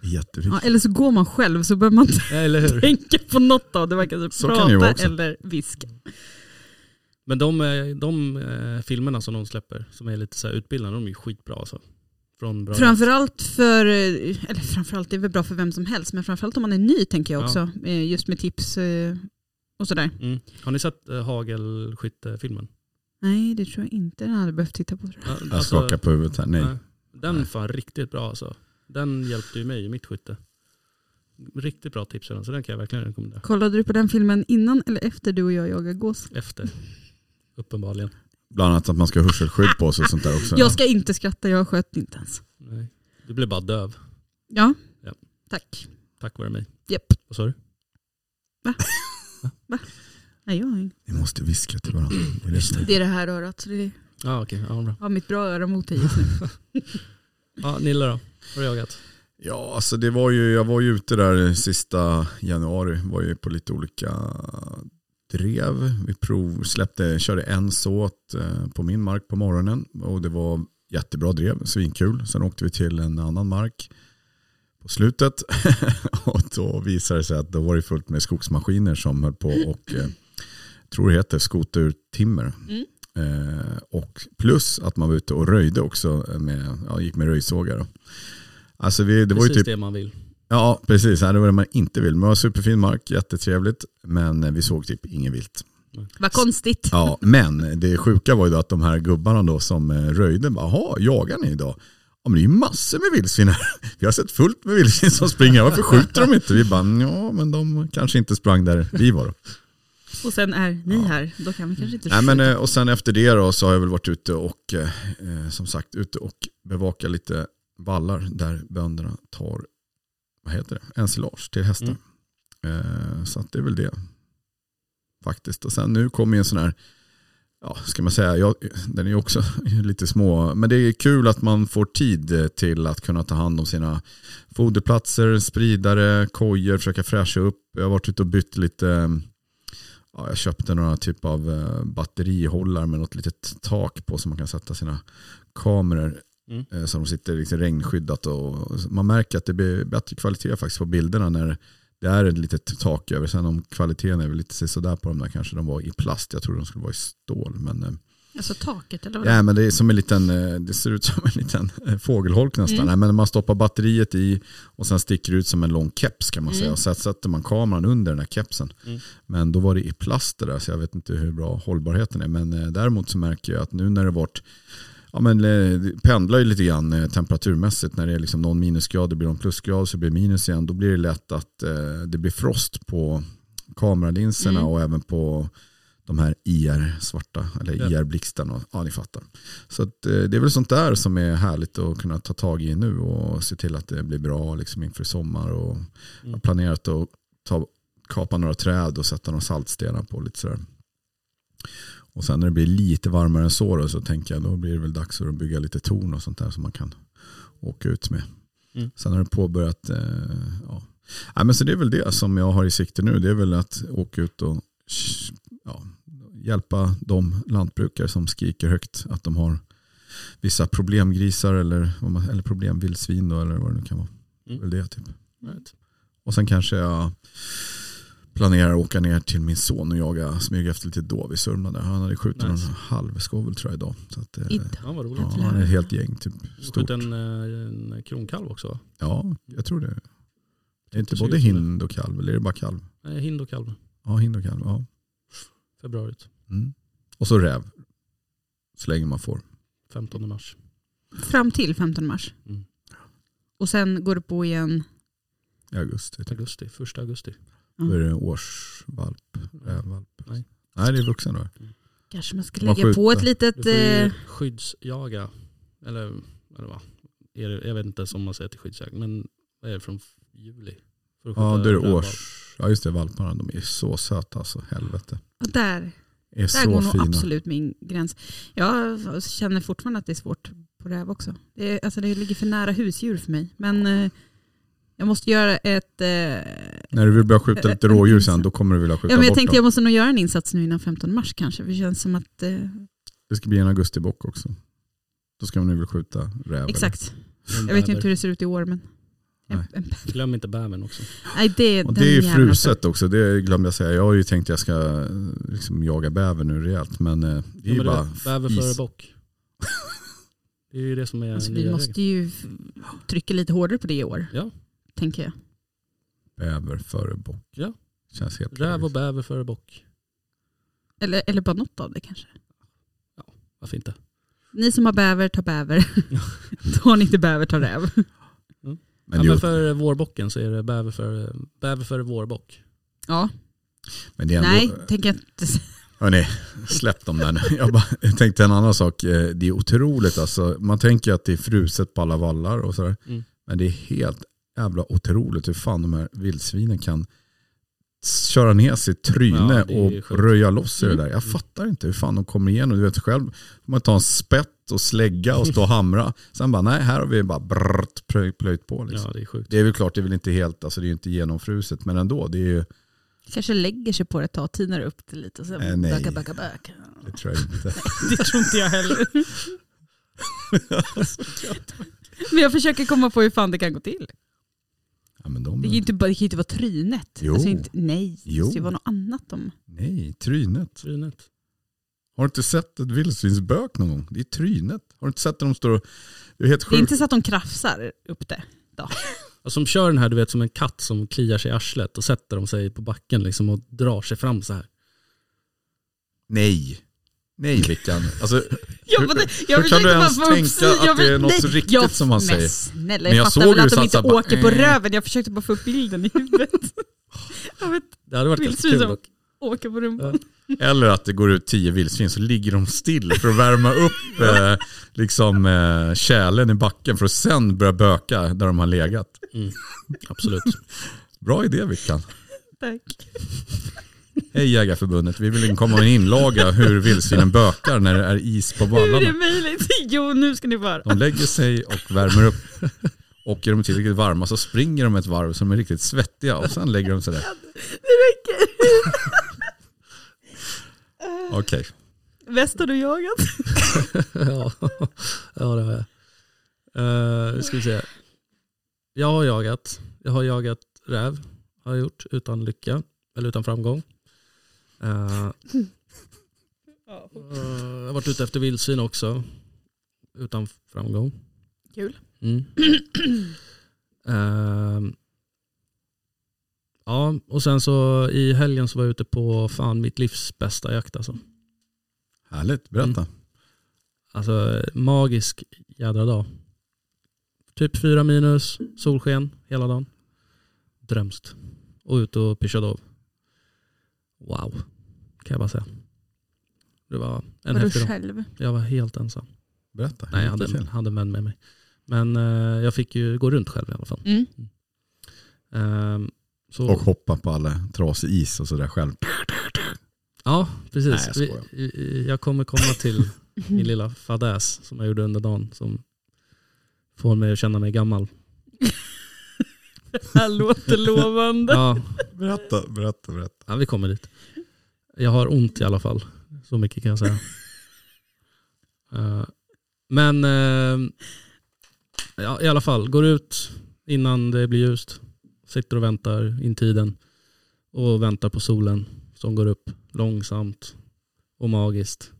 S5: Det är
S3: Ja,
S5: Jätteviktigt.
S3: eller så går man själv så behöver man inte
S4: Ja, Eller hur?
S3: tänka på något av det. Man kan alltså
S5: Så kan det ju
S3: prata
S5: vara också.
S3: eller viska.
S4: Men de, eh, de eh, filmerna som de släpper, som är lite så här utbildande, de är ju skitbra alltså. Från bra
S3: Framförallt för, eh, eller framförallt det är väl bra för vem som helst, men framförallt om man är ny tänker jag också. eh, Just med tips eh, och sådär.
S4: Mm. Har ni sett eh, hagelskyttefilmen?
S3: Nej, det tror jag inte den hade behövt titta på. tror jag.
S4: Ja,
S5: Jag
S3: alltså-
S5: skakar på huvudet här. Nej.
S4: nej. Den
S5: Nej.
S4: fan riktigt bra alltså. Den hjälpte ju mig i mitt skytte. Riktigt bra tips redan, så den kan jag verkligen rekommendera.
S3: Kollade du på den filmen innan eller efter du och jag jagade gås?
S4: Efter, uppenbarligen.
S5: Bland annat att man ska ha hörselskydd på sig och sånt där också.
S3: Jag ska inte skratta, jag sköt inte ens.
S4: Nej. Du blev bara döv,
S3: Ja,
S4: Ja.
S3: tack.
S4: tack vare mig.
S3: Japp.
S4: Vad sa du?
S3: Nej, jag har ingen.
S5: Ni måste viska till varandra. Det är det som är-
S3: Det är det här örat, så det
S4: Ja ah, okej, ja bra.
S3: har mitt bra öra mot dig just nu.
S4: Ja, Nilla då? Har du jagat?
S5: Ja, alltså det var ju, jag var ju ute där sista januari. Var ju på lite olika drev. Vi prov, släppte, körde en såt eh, på min mark på morgonen. Och det var jättebra drev, svinkul. Sen åkte vi till en annan mark på slutet. och då visade det sig att då var det fullt med skogsmaskiner som höll på och eh, tror det heter skotertimmer.
S3: Mm.
S5: Eh, och plus att man var ute och röjde också, med, ja, gick med röjsågar. då. Alltså vi, det var ju
S4: Precis
S5: typ
S4: det man vill.
S5: Ja, precis. Ja, Det var det man inte vill. Men det var superfin mark, jättetrevligt. Men eh, vi såg typ inget vilt.
S3: Vad konstigt.
S5: Ja, men det sjuka var ju då att de här gubbarna då som eh, röjde, bara, jaha, jagar ni idag? Ja men det är ju massor med vildsvin här. Vi har sett fullt med vildsvin som springer. Varför skjuter de inte? Vi bara, ja men de kanske inte sprang där vi var då.
S3: Och sen är ni här, då kan vi kanske inte
S5: Nej,
S3: skjuta.
S5: men, eh, och sen efter det då, så har jag väl varit ute och eh, eh, som sagt ute och bevakar lite vallar där bönderna tar vad heter det? ensilage till hästar. Eh, så att det är väl det faktiskt. Och sen nu kommer ju en sån här, ja ska man säga, jag, den är ju också lite små. Men det är kul att man får tid eh, till att kunna ta hand om sina foderplatser, spridare, kojor, försöka fräscha upp. Jag har varit ute och bytt lite eh, ja, jag köpte några typ av eh, batterihållare med något litet tak på som man kan sätta sina kameror
S4: Mm.
S5: eh, som sitter liksom regnskyddat. Och, och man märker att det blir bättre kvalitet faktiskt på bilderna när det är ett litet tak över. Sen om kvaliteten är väl lite sådär på de där kanske. De var i plast, jag trodde de skulle vara i stål. Men, eh,
S3: Alltså taket eller vad
S5: ja, men det, är som en liten, eh, det ser ut som en liten eh, fågelholk nästan.
S3: Mm.
S5: Nej, men man stoppar batteriet i och sen sticker det ut som en lång keps kan man
S3: Mm.
S5: säga. Och sen sätter man kameran under den här kepsen.
S4: Mm.
S5: Men då var det i plast det där så jag vet inte hur bra hållbarheten är. Men eh, däremot så märker jag att nu när det varit Ja, men, eh, det pendlar ju lite grann eh, temperaturmässigt. När det är liksom någon minusgrad, det blir någon plusgrad, så blir det minus igen. Då blir det lätt att eh, det blir frost på kameralinserna
S3: Mm.
S5: och även på de här IR-svarta, eller
S4: Ja.
S5: IR-blixtarna. Ja, ni fattar. Så att, eh, det är väl sånt där som är härligt att kunna ta tag i nu och se till att det blir bra liksom inför sommar. Och
S4: Mm.
S5: Jag har planerat att ta, kapa några träd och sätta några saltstenar på lite sådär. Och sen när det blir lite varmare än så då, så tänker jag då blir det väl dags att bygga lite torn och sånt där som man kan åka ut med.
S4: Mm.
S5: Sen har det påbörjat, eh, ja. Nej, men så det är väl det som jag har i sikte nu. Det är väl att åka ut och ja, hjälpa de lantbrukare som skriker högt att de har vissa problemgrisar eller, vad man- eller problemvildsvin då, eller vad det nu kan vara. Det är
S4: Mm.
S5: Väl det, typ.
S4: Right.
S5: Och sen kanske jag planerar att åka ner till min son och jaga, smyga efter lite dov i Sörmland. där. Han hade skjutit
S4: Nice.
S5: någon halvskovel tror jag idag. Så att, eh,
S3: Idag.
S4: Ja, vad roligt.
S5: ja, han är ett helt gäng typ.
S4: Du
S5: Stort.
S4: sköt en, eh, en kronkalv också va?
S5: Ja, jag tror det. Är inte
S4: Det ser
S5: både
S4: ut som det.
S5: hind och kalv, eller är det bara kalv?
S4: Nej, hind och kalv.
S5: Ja, hind och kalv. Ja.
S4: Februari ut.
S5: Mm. Och så räv. Så länge man får.
S4: 15 mars.
S3: Fram till 15 mars.
S4: Mm.
S3: Och sen går det på igen.
S5: I augusti. Typ.
S4: Augusti, första augusti.
S3: Mm.
S5: Då är det årsvalp, rävvalp.
S4: Nej.
S5: Nej, det är vuxen då.
S3: Kanske man ska
S5: Man
S3: lägga på eh,
S5: skjuter.
S3: ett litet...
S4: Du får ju
S3: Eh,
S4: skyddsjaga. Eller eller vad, är det, jag vet inte som man säger till skyddsjakt, men vad är det från juli? För att
S5: Ja,
S4: skjuta
S5: då är det
S4: rövvalp.
S5: års... Ja, just det. Valparna. De är så söta alltså. Helvete.
S3: Och där
S5: Är
S3: Där går
S5: så
S3: nog
S5: fina.
S3: absolut min gräns. Jag känner fortfarande att det är svårt på räv också. Det, är- alltså det ligger för nära husdjur för mig. Men eh, jag måste göra ett... Eh,
S5: När du vill börja skjuta lite
S3: Äh, äh,
S5: rådjur
S3: inte
S5: sen,
S3: så.
S5: då kommer du vilja skjuta
S3: ja, men jag
S5: bort
S3: tänkte
S5: dem.
S3: jag måste nog göra en insats nu innan 15 mars kanske. För det känns som att... Eh,
S5: Det ska bli en augustibock också. Då ska man nu vilja skjuta räv.
S3: exakt.
S4: Men
S3: Jag vet ju
S4: bäver.
S3: inte hur det ser ut i år men...
S5: Nej.
S3: Nej, en, en,
S4: Glöm inte bävern också.
S3: nej det,
S5: Eller? Och
S3: den
S5: det är ju
S3: jäveln också.
S5: fruset också, det glömde jag säga. Jag har ju tänkt att jag ska eh, liksom jaga bäver nu rejält, men eh, det är
S4: Ja,
S5: ju
S4: men du
S5: bara
S4: vet, Bäver
S5: is.
S4: före bock. Det är ju det som är
S3: Alltså,
S4: nya
S3: vi måste ju f- trycka lite hårdare på det i år.
S4: Ja.
S3: Tänker jag.
S5: bäver före bock.
S4: Ja.
S5: Känns helt
S4: regeln. Räv och
S5: logiskt.
S4: bäver före bock.
S3: Eller, eller bara något av det kanske.
S4: Varför inte?
S3: Ni som har bäver, ta bäver. Har ni inte bäver, ta räv.
S5: Men,
S4: Men, ja,
S5: det är
S4: men
S5: ju-
S4: för vårbocken så är det bäver före, bäver före vårbock.
S3: Ja,
S5: men det är ändå...
S3: nej, tänker jag inte säga.
S5: Hörrni, släpp dem där nu. Jag, bara, jag tänkte en annan sak. Eh, Det är otroligt alltså. Man tänker att det är fruset på alla vallar och sådär.
S4: Mm.
S5: Men det är helt jävla otroligt hur fan de här vildsvinen kan köra ner sitt tryne
S4: Ja, det är ju
S5: och
S4: sjukt. Mm.
S5: röja loss i det där. Jag fattar inte hur fan de kommer igenom. Du vet själv, får man ta en spett och slägga och stå och hamra. Sen bara, nej här har vi bara brrrt, plöj- plöjt på. Liksom.
S4: Ja det är sjukt.
S5: Det är väl klart, det är väl inte helt, alltså det är ju inte genomfruset, men ändå. Det är ju,
S3: Kanske lägger sig på det ett tag, tinar upp det lite och sen
S5: Eh, nej.
S3: backa, backa, backa.
S5: det tror jag inte.
S3: Det tror inte jag heller. Men jag försöker komma på hur fan det kan gå till.
S5: Ja, men de,
S3: Det kan ju inte, bara- det kan ju inte vara trynet.
S5: Mm. Jo.
S3: Alltså inte, nej, det
S5: Jo.
S3: måste ju vara något annat. De.
S5: Nej, trynet.
S4: Trynet.
S5: Har du inte sett ett vildsvinsbök någon gång? Det är trynet. Har du inte sett när de står och... Det är helt
S3: Det är
S5: sjukt.
S3: inte så att de krafsar upp det.
S4: Och som kör den här du vet som en katt som kliar sig i arslet och sätter de sig på backen liksom och drar sig fram så här.
S5: Nej. Nej Vickan. Alltså,
S3: Jag,
S5: Hur-
S3: bara-
S5: hur kan
S3: försökte
S5: du
S3: bara
S5: ens
S3: få upp-
S5: tänka att
S3: jag
S5: det är
S3: vill-
S5: något
S3: nej,
S5: riktigt
S3: jag,
S5: som man
S3: men
S5: säger?
S3: Snälla,
S5: Men jag
S3: jag, fattar
S5: såg
S3: väl
S5: hur
S3: att
S5: du
S3: de inte
S5: satt där, bara,
S3: åker på
S5: eh.
S3: röven. Jag försökte bara få upp bilden i huvudet. Av ett
S4: Det hade varit ganska
S3: vildsvin
S4: kul
S3: som
S4: dock.
S3: åker på rumpan.
S5: eller att det går ut tio vildsvin så ligger de still för att värma upp eh, liksom, eh, kärlen i backen för att sen börja böka där de har legat.
S4: Absolut.
S5: Bra idé Vickan.
S3: Tack.
S5: Hej Jägarförbundet, vi vill komma med en inlaga hur vildsvinen bökar när det är is på
S3: Hur är det
S5: vallarna.
S3: möjligt? Jo, nu ska ni få höra.
S5: De lägger sig och värmer upp. Och är de tillräckligt varma så springer de ett varv så de är riktigt svettiga och sen lägger de sig där.
S3: Det räcker.
S5: Okej.
S3: Väst har du jagat?
S4: ja. ja, det har jag. Eh, nu ska vi se. Jag har jagat. Jag har jagat räv. Har jag gjort utan lycka. Eller utan framgång. Eh, eh, jag har varit ute efter vildsvin också. Utan framgång.
S3: Kul.
S4: Mm. Ehm, ja, och sen så i helgen så var jag ute på fan mitt livs bästa jakt alltså.
S5: Härligt, berätta.
S4: Alltså magisk jädra dag. Typ fyra minus, solsken hela dagen. Drömst. Och ut och pyschade av. Wow, kan jag bara säga. Det var
S3: Var
S4: en
S3: du
S4: häftig dag.
S3: själv?
S4: Jag var helt ensam.
S5: Berätta.
S4: Nej, jag
S5: Hur gick
S4: hade,
S5: det
S4: en-
S5: till?
S4: hade en vän med mig. Men eh, jag fick ju gå runt själv i alla fall.
S3: Mm.
S4: Ehm, så,
S5: Och hoppa på alla trasig is och sådär själv.
S4: Ja,
S5: Nej,
S4: precis.
S5: jag
S4: Vi-
S5: skojar.
S4: vi- jag kommer komma till min lilla fadäs som jag gjorde under dagen som får mig att känna mig gammal.
S3: Det här låter lovande.
S4: Ja,
S5: Berätta, berätta, berätta.
S4: Ja, vi kommer dit. Jag har ont i alla fall. Så mycket kan jag säga. Eh, men eh, ja, i alla fall, går ut innan det blir ljust. Sitter och väntar in tiden. Och väntar på solen som går upp långsamt och magiskt.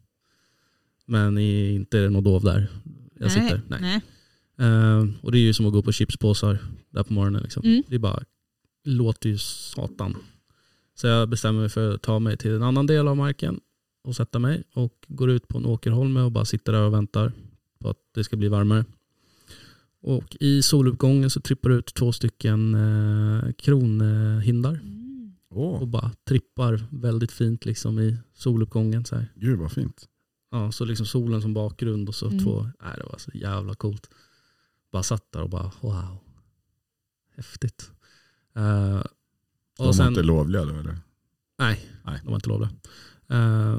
S4: Men i, inte är det något dov där. Jag sitter. Nej.
S3: Nej.
S4: Eh, och det är ju som att gå på chipspåsar där på morgonen. Liksom.
S3: Mm.
S4: Det är bara, låter ju satan. Så jag bestämmer mig för att ta mig till en annan del av marken och sätta mig och går ut på en åkerholme och bara sitter där och väntar på att det ska bli varmare. Och i soluppgången så trippar det ut två stycken eh, kronhindar
S3: Mm.
S5: Åh,
S4: och bara trippar väldigt fint liksom i soluppgången. Så här.
S5: gud vad fint.
S4: Ja, så liksom solen som bakgrund och så
S3: Mm.
S4: två, nej det var så jävla coolt. bara satt där och bara wow. Häftigt. Eh,
S5: De var inte lovliga då eller?
S4: Nej,
S5: Nej.
S4: de var inte lovliga. Eh,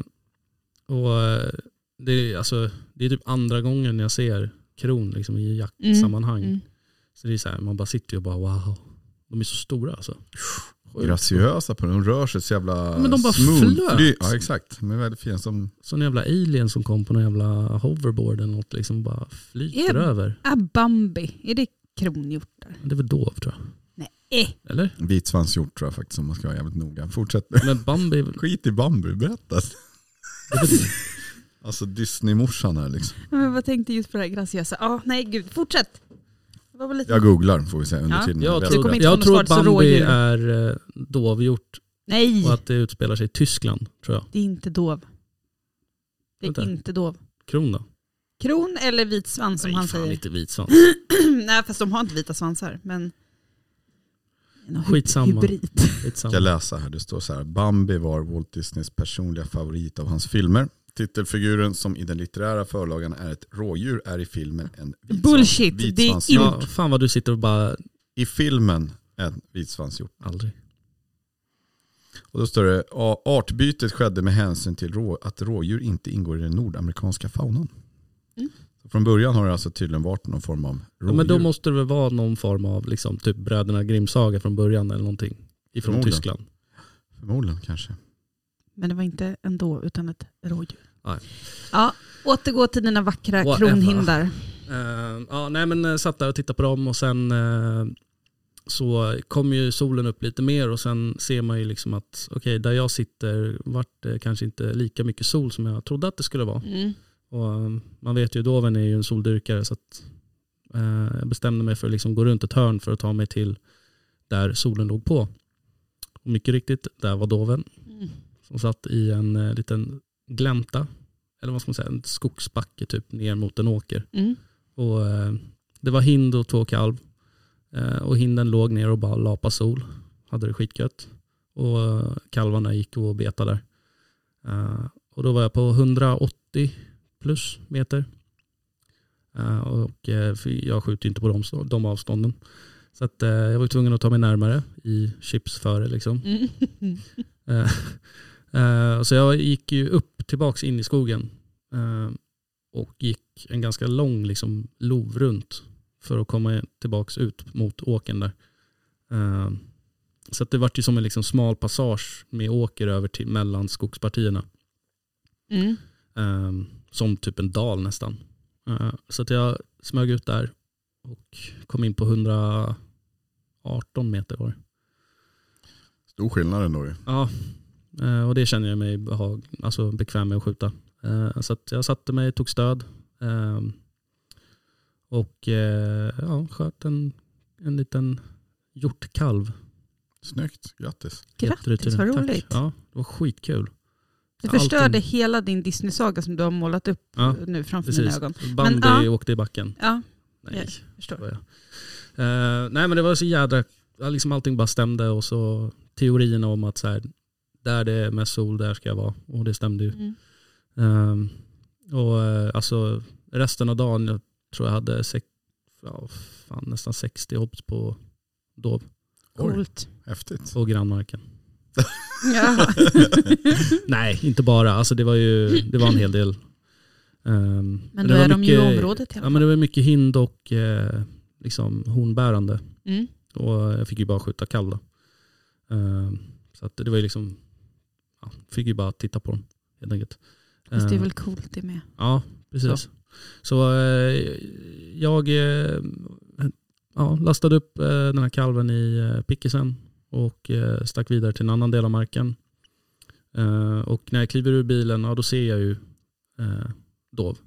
S4: och eh, det, är, alltså, det är typ andra gången jag ser kron liksom, i jaktsammanhang.
S3: Mm.
S4: Så det är så här, man bara sitter ju och bara wow. De är så stora alltså. Sjukt.
S5: Graciösa på den. De rör sig så jävla
S4: Men de bara
S5: smooth.
S4: flöt.
S5: Fly- Ja exakt. De är väldigt fina. Som,
S4: Så en jävla alien som kom på någon jävla hoverboard eller något liksom bara flyter
S3: Ebb.
S4: över.
S3: Ah, Bambi, är det kronhjortar?
S4: Men Det är väl dov tror jag.
S3: Eh.
S4: Eller?
S5: vitsvansgjort tror jag faktiskt om man ska vara jävligt noga. Fortsätt nu.
S4: Men Bambi är väl...
S5: Skit i bambu, berätta.
S4: det är väl-
S5: Alltså Disney-morsan här liksom.
S3: Ja, Men vad tänkte just på det här graciösa? Ja, nej gud, fortsätt. Det var väl lite...
S5: Jag googlar får vi se under
S3: Ja.
S5: tiden.
S4: Jag
S5: berättar.
S4: tror,
S3: Mm. kommer
S4: det.
S3: inte få
S4: jag
S3: något svar
S4: tror att
S3: till så
S4: Bambi
S3: rådjur.
S4: är eh, dovhjort
S3: Nej,
S4: och att det utspelar sig i Tyskland tror jag.
S3: det är inte dov. Det är
S4: Vänta.
S3: inte dov.
S4: Kron då?
S3: Kron eller vit svans som
S4: Nej,
S3: han
S4: fan,
S3: säger.
S4: inte vit svans.
S3: nej, fast de har inte vita svansar. Men... Någon hy-
S4: Skitsamma.
S3: Hybrid.
S4: Skitsamma.
S5: Jag läser här, det står så här. Bambi var Walt Disneys personliga favorit av hans filmer. Titelfiguren som i den litterära förlagan är ett rådjur är i filmen en vitsvans-
S3: Bullshit, det är
S5: vitsvansgjort.
S4: Ja, fan vad du sitter och bara,
S5: I filmen en vitsvansgjort.
S4: aldrig.
S5: Och då står det "A- artbytet skedde med hänsyn till rå, att rådjur inte ingår i den nordamerikanska faunan.
S3: Mm.
S5: Så Från början har det alltså tydligen varit någon form av
S4: Ja,
S5: rådjur.
S4: men då måste det väl vara någon form av liksom, typ bröderna Grimm-saga från början eller någonting. Ifrån
S5: Förmodligen.
S4: Tyskland.
S5: Förmodligen kanske.
S3: Men det var inte en dov utan ett rådjur.
S4: Nej.
S3: Ja, återgå till dina vackra
S4: Whatever.
S3: kronhindar.
S4: Eh, ja, nej men eh, satt där och tittade på dem och sen eh, så kom ju solen upp lite mer och sen ser man ju liksom att okej, där jag sitter vart det kanske inte lika mycket sol som jag trodde att det skulle vara.
S3: Mm.
S4: Och, eh, man vet ju, Doven är ju en soldyrkare så att eh, jag bestämde mig för att liksom gå runt ett hörn för att ta mig till där solen låg på. Och mycket riktigt, där var Doven
S3: Mm.
S4: som satt i en eh, liten glänta, eller vad ska man säga, en skogsbacke typ ner mot en åker.
S3: Mm.
S4: Och, eh, det var hind och två kalv. Eh, och hinden låg ner och bara lapa sol. Hade det skitgött. Och eh, kalvarna gick och betade där. Eh, och då var jag på 180 plus meter. Eh, och eh, för jag skjuter ju inte på de, stå- de avstånden. Så att, eh, jag var ju tvungen att ta mig närmare i chips före liksom.
S3: Mm.
S4: Eh, eh, Så jag gick ju upp tillbaks in i skogen eh, och gick en ganska lång liksom, lov runt för att komma tillbaks ut mot åken där. Eh, Så att det vart ju som en liksom smal passage med åker över till, mellan skogspartierna.
S3: Mm.
S4: Eh, Som typ en dal nästan. Eh, Så att jag smög ut där och kom in på 118 meter var det.
S5: Stor skillnad ändå ju.
S4: Ja, eh, och det känner jag mig behag, alltså bekväm med att skjuta. Eh, Så att jag satte mig, tog stöd eh, och eh, ja, sköt en, en liten hjortkalv.
S5: Snyggt, grattis.
S4: heter det
S3: Grattis, vad
S4: tydligen. Tack.
S3: roligt.
S4: Ja, det var skitkul.
S3: Du
S4: Allting-
S3: förstörde hela din Disney-saga som du har målat upp
S4: Ja,
S3: nu framför mina
S4: precis.
S3: ögon.
S4: Bambi
S3: Men, ja.
S4: åkte i backen.
S3: Ja,
S4: Nej,
S3: förstår.
S4: skojar. Eh, nej men det var så jädra, ja, liksom allting bara stämde och så teorin om att så här, där det är mest sol, där ska jag vara. Och det stämde ju.
S3: Mm.
S4: Ehm, och eh, alltså resten av dagen, jag tror jag hade sex, ja, fan, nästan 60 hops på Dov
S5: Oj,
S3: Coolt.
S5: häftigt.
S4: och grannmarken.
S3: Ja.
S4: Nej, inte bara. Alltså det var ju, det var en hel del. Ehm,
S3: Men
S4: det
S3: då
S4: var
S3: är de ju i
S4: mycket-
S3: området i alla
S4: Ja men
S3: fall.
S4: det var mycket hind och eh, liksom hornbärande.
S3: Mm.
S4: Och jag fick ju bara skjuta kalv då. Ehm, så att det var ju liksom, ja, fick ju bara titta på dem helt enkelt.
S3: Fast det är
S4: Ehm,
S3: väl coolt det med.
S4: Ja, precis. Så, eh, jag eh, ja, lastade upp eh, den här kalven i eh, pickisen och eh, stack vidare till en annan del av marken. Eh, och när jag kliver ur bilen, ja, då ser jag ju eh, dov.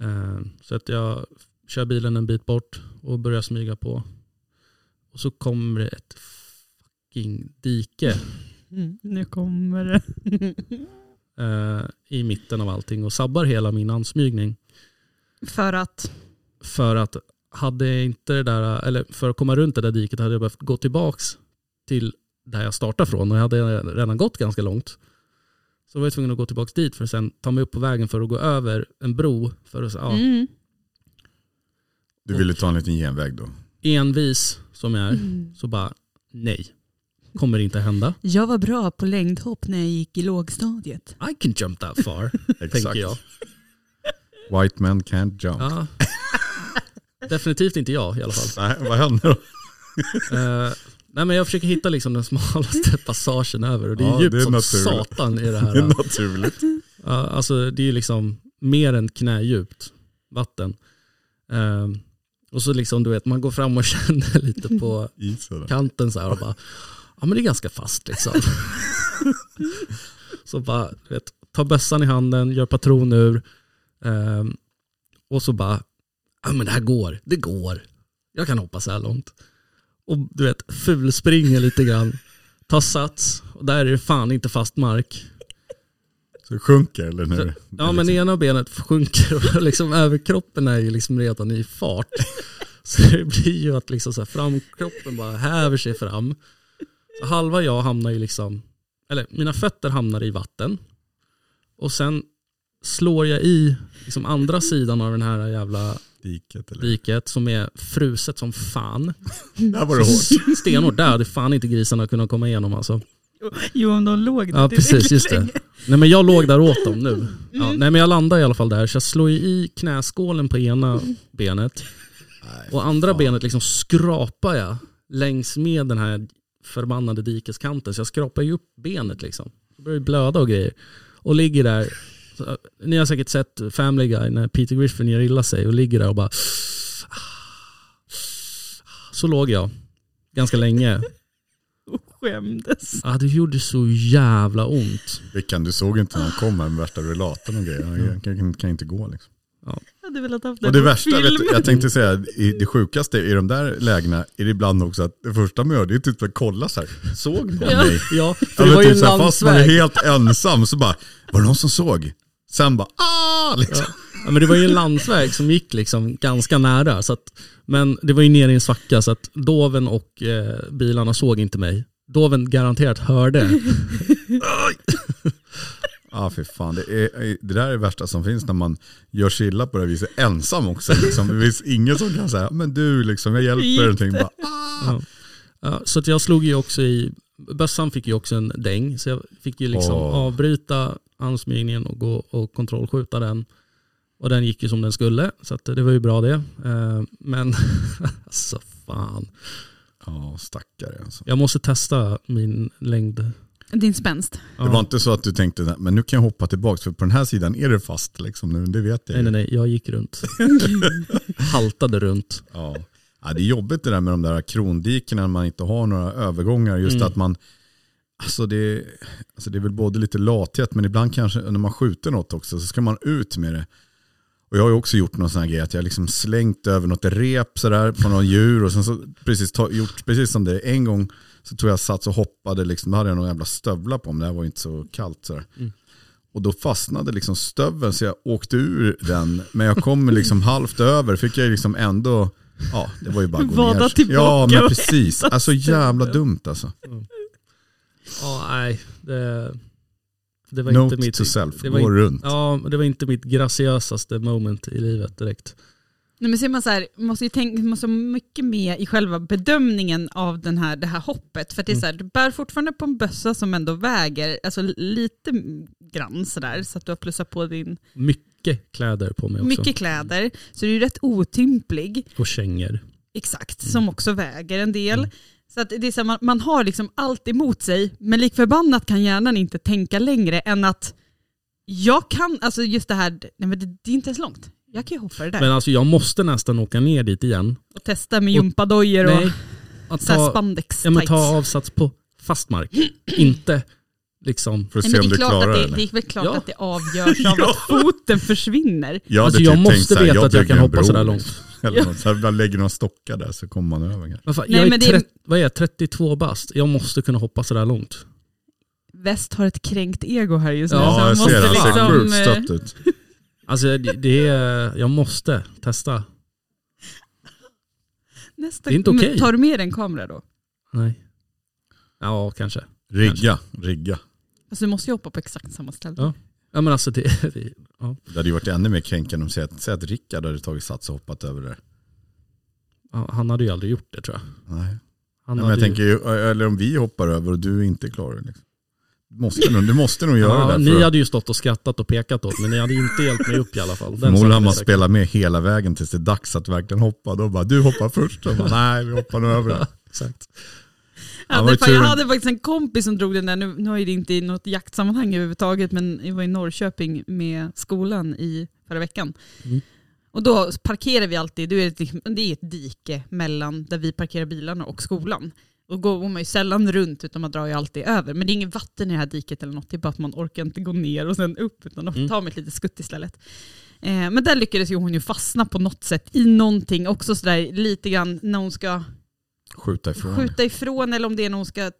S4: Eh, så att jag kör bilen en bit bort och börjar smyga på. Och så kommer det ett fucking dike
S3: Mm. Nu kommer det.
S4: eh, i mitten av allting och sabbar hela min ansmygning.
S3: För att...
S4: För att hade jag inte det där, eller för att komma runt det där diket hade jag behövt gå tillbaks till där jag startade från och jag hade redan gått ganska långt. Så var jag tvungen att gå tillbaks dit för att sen ta mig upp på vägen för att gå över en bro. För att, ja,
S3: Mm.
S5: Du ville ta en liten genväg då.
S4: Envis som jag är, så bara nej. Kommer inte hända.
S3: Jag var bra på längdhopp när jag gick i lågstadiet.
S4: I can jump that far, tänker jag.
S5: White men can't jump.
S4: Ja. Definitivt inte jag i alla fall.
S5: Nej, vad händer då?
S4: Eh, nej, men jag försöker hitta liksom den smalaste passagen över och det är
S5: Ja,
S4: djupt
S5: det är
S4: som
S5: naturligt.
S4: satan i det här.
S5: Det är naturligt.
S4: Ja, alltså det är ju liksom mer än knädjupt vatten. Eh, och så liksom du vet, man går fram och känner lite på
S5: Isen.
S4: kanten så här och bara, ja men det är ganska fast liksom. så bara, du vet, ta bössan i handen, gör patron ur eh, och så bara, ja men det här går, det går, jag kan hoppa så här långt. Och du vet, fulspringer lite grann, tar sats och där är det fan inte fast mark.
S5: Så sjunker eller nu?
S4: Ja men
S5: Liksom.
S4: ena benet sjunker och liksom överkroppen är ju liksom redan i fart. Så det blir ju att liksom så här framkroppen bara häver sig fram. Så halva jag hamnar ju liksom, eller mina fötter hamnar i vatten. Och sen slår jag i liksom andra sidan av den här jävla
S5: typ Diket eller?
S4: diket som är fruset som fan.
S5: Där var det hårt.
S4: Stenhårt där hade fan inte grisarna kunnat komma igenom alltså.
S3: Jo, om de låg
S4: Ja precis, just det. Nej men jag låg där åt dem nu. Ja, Nej men jag landade i alla fall där, så jag slår ju i knäskålen på ena benet. Och andra benet liksom skrapar jag längs med den här förbannade dikeskanten. Så jag skrapar ju upp benet liksom. Det börjar ju blöda och grejer. Och ligger där. Så, äh, ni har säkert sett Family Guy när Peter Griffin gör illa sig och ligger där och bara... Så låg jag. Ganska länge.
S3: Och skämdes.
S4: Ja, det gjorde så jävla ont.
S5: Vickan, du såg inte när han kom här med värsta rullatorn och grejer.
S4: Mm.
S5: Han kan, kan, kan inte gå liksom.
S3: Jag hade velat haft den
S5: Och det
S3: på
S5: värsta,
S3: film.
S5: vet, du, jag tänkte säga, i, det sjukaste i de där lägena är det ibland också att det första man gör det är typ att kolla så här. Såg någon mig?
S4: Ja, för det
S5: Ja, men
S4: var ju
S5: typ
S4: en
S5: så här, fast man är
S4: landsväg.
S5: helt ensam så bara, var det någon som såg? Sen bara, ah! Liksom.
S4: Ja, men det var ju en landsväg som gick liksom ganska nära. Så att, men det var ju nere i en svacka så att doven och eh, bilarna såg inte mig. Doven garanterat hörde.
S5: Ja, ah, för fan. Det, är, det där är det värsta som finns när man gör sig illa på det här viset ensam också. Liksom. Det finns ingen som kan säga, men du, liksom, jag hjälper dig.
S3: Hjälp
S5: någonting. Bara, "Ah."
S4: Ja, så att jag slog ju också i, bössan fick ju också en däng. Så jag fick ju liksom
S5: Åh.
S4: avbryta ansmygningen och gå och kontrollskjuta den. Och den gick ju som den skulle, så att det var ju bra det. Eh, men alltså fan.
S5: Ja, stackare. Alltså.
S4: Jag måste testa min längd.
S3: Din spänst.
S5: Det var inte så att du tänkte, "Nej, men nu kan jag hoppa tillbaka för på den här sidan är det fast. Liksom, nu, det vet jag.
S4: Nej,
S5: ju."
S4: nej, nej. Jag gick runt. Haltade runt.
S5: Ja. Ja, det är jobbigt det där med de där krondikena när man inte har några övergångar. Just att man, alltså det, alltså det är väl både lite lathet men ibland kanske när man skjuter något också så ska man ut med det. Och jag har ju också gjort någon sån här grej att jag liksom slängt över något rep sådär på någon djur och sen så precis ta, gjort precis som det. En gång så tog jag sats och hoppade, liksom, då hade jag någon jävla stövla på mig, det här var ju inte så kallt sådär.
S3: Mm.
S5: Och då fastnade liksom stöveln så jag åkte ur den. Men jag kom liksom halvt över. Fick jag liksom ändå, ja det var ju bara att gå
S3: Vada
S5: ner.
S3: tillbaka
S5: Ja men
S3: och
S5: precis.
S3: äta
S5: Alltså jävla dumt alltså.
S4: Ja, nej. Det, det var
S5: Note
S4: inte mitt...
S5: to self,
S4: det
S5: gå
S4: var inte-
S5: runt.
S4: Ja, men det var inte mitt graciösaste moment i livet direkt.
S3: Nej, men ser man så här, måste ju tänka, måste ha mycket med i själva bedömningen av den här, det här hoppet. För att det är
S4: Mm.
S3: så här, du bär fortfarande på en bössa som ändå väger alltså, lite grann sådär, så att du har plussat på din
S4: Mycket kläder på mig också.
S3: mycket kläder. Så du är ju rätt otymplig.
S4: Och kängor.
S3: Exakt,
S4: Mm.
S3: som också väger en del. Så att det är så här, man, man har liksom allt emot sig, men lik förbannat kan hjärnan inte tänka längre än att jag kan, alltså just det här, nej men det, det är inte ens långt. Jag kan ju hoppa det där
S4: Men alltså jag måste nästan åka ner dit igen.
S3: och testa med gympadojor och
S4: Nej. Att
S3: så här
S4: ta,
S3: spandex
S4: ja, men ta
S3: tights.
S4: avsats på fast mark. inte liksom...
S5: För att
S3: Nej,
S5: se
S3: men det,
S5: om du
S3: är klart
S5: klarar
S3: att
S5: det.
S3: det,
S5: eller?
S3: det är väl klart
S4: Ja.
S3: att det avgörs av att foten försvinner.
S5: Jag hade
S4: alltså jag
S5: typ tänkt
S4: måste
S5: så här,
S4: veta att jag
S5: bygger
S4: kan
S5: en
S4: hoppa
S5: bro,
S4: sådär
S5: liksom.
S4: långt.
S5: Eller något. Så här, ibland lägger några stockar där så kommer man över. kanske.
S4: Vad fan,
S3: Nej,
S4: jag är
S3: men det är-
S4: 30, vad är jag, 32 bast. Jag måste kunna hoppa sådär långt.
S3: Väst har ett kränkt ego här just nu.
S4: Ja,
S3: så han
S5: jag
S3: måste
S5: ser det. Han ser
S3: liksom,
S5: sjukt
S3: eh,
S5: stött ut.
S4: Alltså det, det är, jag måste testa.
S3: nästa,
S4: Det är inte
S3: men
S4: okej.
S3: Tar du med dig en kamera då?
S4: Nej. Ja, kanske.
S5: Rigga, rigga.
S3: Alltså du måste ju hoppa på exakt samma ställe.
S4: Ja. Ja men alltså det, det
S5: Det hade ju varit ännu mer kränkande om säg att, säg att Rickard hade tagit sats och hoppat över där.
S4: Han han hade ju aldrig gjort det tror jag.
S5: Nej.
S4: Han
S5: Ja, men jag
S4: hade ju-
S5: tänker ju, eller om vi hoppar över och du inte klarar det. Liksom. Du, måste nog, du måste nog göra
S4: ja,
S5: det där.
S4: ni
S5: För
S4: hade ju stått och skrattat och pekat åt men ni hade inte hjälpt mig upp i alla fall. Den
S5: Förmodligen
S4: saken
S5: har
S4: är
S5: man
S4: säker.
S5: spelat med hela vägen tills det är dags att verkligen hoppa. Då bara, du hoppar först. Och bara, Nej, vi hoppar nog över det.
S4: Exakt.
S5: Ja,
S3: Ja,
S5: var
S3: det,
S5: ju
S3: fan, jag
S5: tur.
S3: hade faktiskt en kompis som drog den där, nu, nu är det inte i något jaktsammanhang överhuvudtaget, men jag var i Norrköping med skolan i förra veckan.
S4: Mm.
S3: Och då parkerar vi alltid, det är, ett, liksom- det är ett dike mellan där vi parkerar bilarna och skolan. Och går går man ju sällan runt utan man drar ju alltid över. Men det är inget vatten i det här diket eller något, det är bara att man orkar inte gå ner och sen upp utan de
S4: Mm.
S3: tar med ett litet skutt istället. Eh, men där lyckades ju hon ju fastna på något sätt i någonting också sådär lite grann när hon ska
S5: Skjuta ifrån.
S3: skjuta ifrån eller om det är någon ska...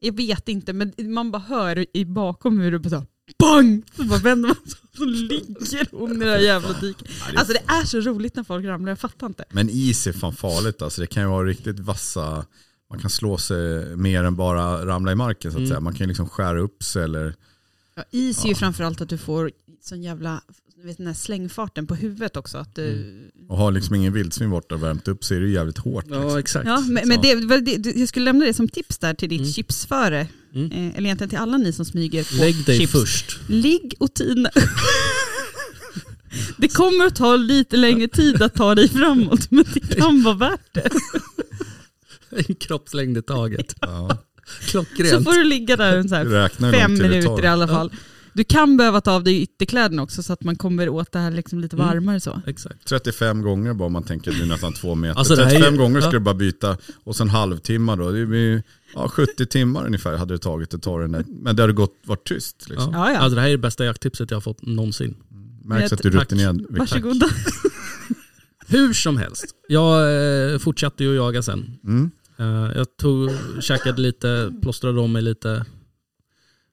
S3: Jag vet inte, men man bara hör i bakom hur det bara så här, bang! Så bara vänder man sig och så ligger hon i det här jävla diket.
S5: Nej, det-
S3: Alltså det är så roligt när folk ramlar, jag fattar inte.
S5: Men is är fan farligt. Alltså, det kan ju vara riktigt vassa. Man kan slå sig mer än bara ramla i marken. så att
S4: Mm.
S5: säga. Man kan ju liksom skära upp sig. Eller,
S3: Ja, is är ju
S5: Ja.
S3: framförallt att du får sån jävla du vet, den här slängfarten på huvudet också. Att du,
S5: och har liksom ingen vildsvin borta och värmt upp så är det ju jävligt hårt. liksom.
S4: Ja, exakt.
S3: Ja, men, men det, var det, du- jag skulle lämna det som tips där till ditt
S4: Mm.
S3: chipsföre,
S4: Mm.
S3: eh, eller egentligen till alla ni som smyger på
S4: Lägg dig
S3: chips.
S4: först.
S3: Ligg och tina. Det kommer att ta lite längre tid att ta dig framåt, men det kan vara värt det.
S4: En kroppslängd i taget.
S5: Ja.
S3: Så
S4: Klockrent.
S3: får du ligga där en så här
S5: Räkna hur
S3: fem
S5: lång tid det
S3: minuter
S5: tar.
S3: i alla fall. Du kan behöva ta av dig ytterkläderna också så att man kommer åt det här liksom lite
S4: Mm.
S3: varmare så.
S4: Exakt.
S5: 35 gånger bara om man tänker att det är nästan två meter.
S4: Alltså, det här är ju-
S5: 35 gånger ska
S4: ja.
S5: du bara byta och sen halvtimmar då. Det blir ju, ja, 70 timmar ungefär hade det tagit att ta den där. Men det hade gått, varit tyst. Liksom.
S4: Ja.
S3: Ja, ja.
S4: Alltså, det här är det bästa jakttipset jag har fått någonsin.
S5: Märks
S3: Jag-
S5: att du är
S4: tack.
S5: rutinerad. Victor.
S3: Varsågoda.
S4: Hur som helst, jag eh, fortsatte ju att jaga sen.
S5: Mm.
S4: Eh, jag tog, käkade lite, plåstrade om mig lite,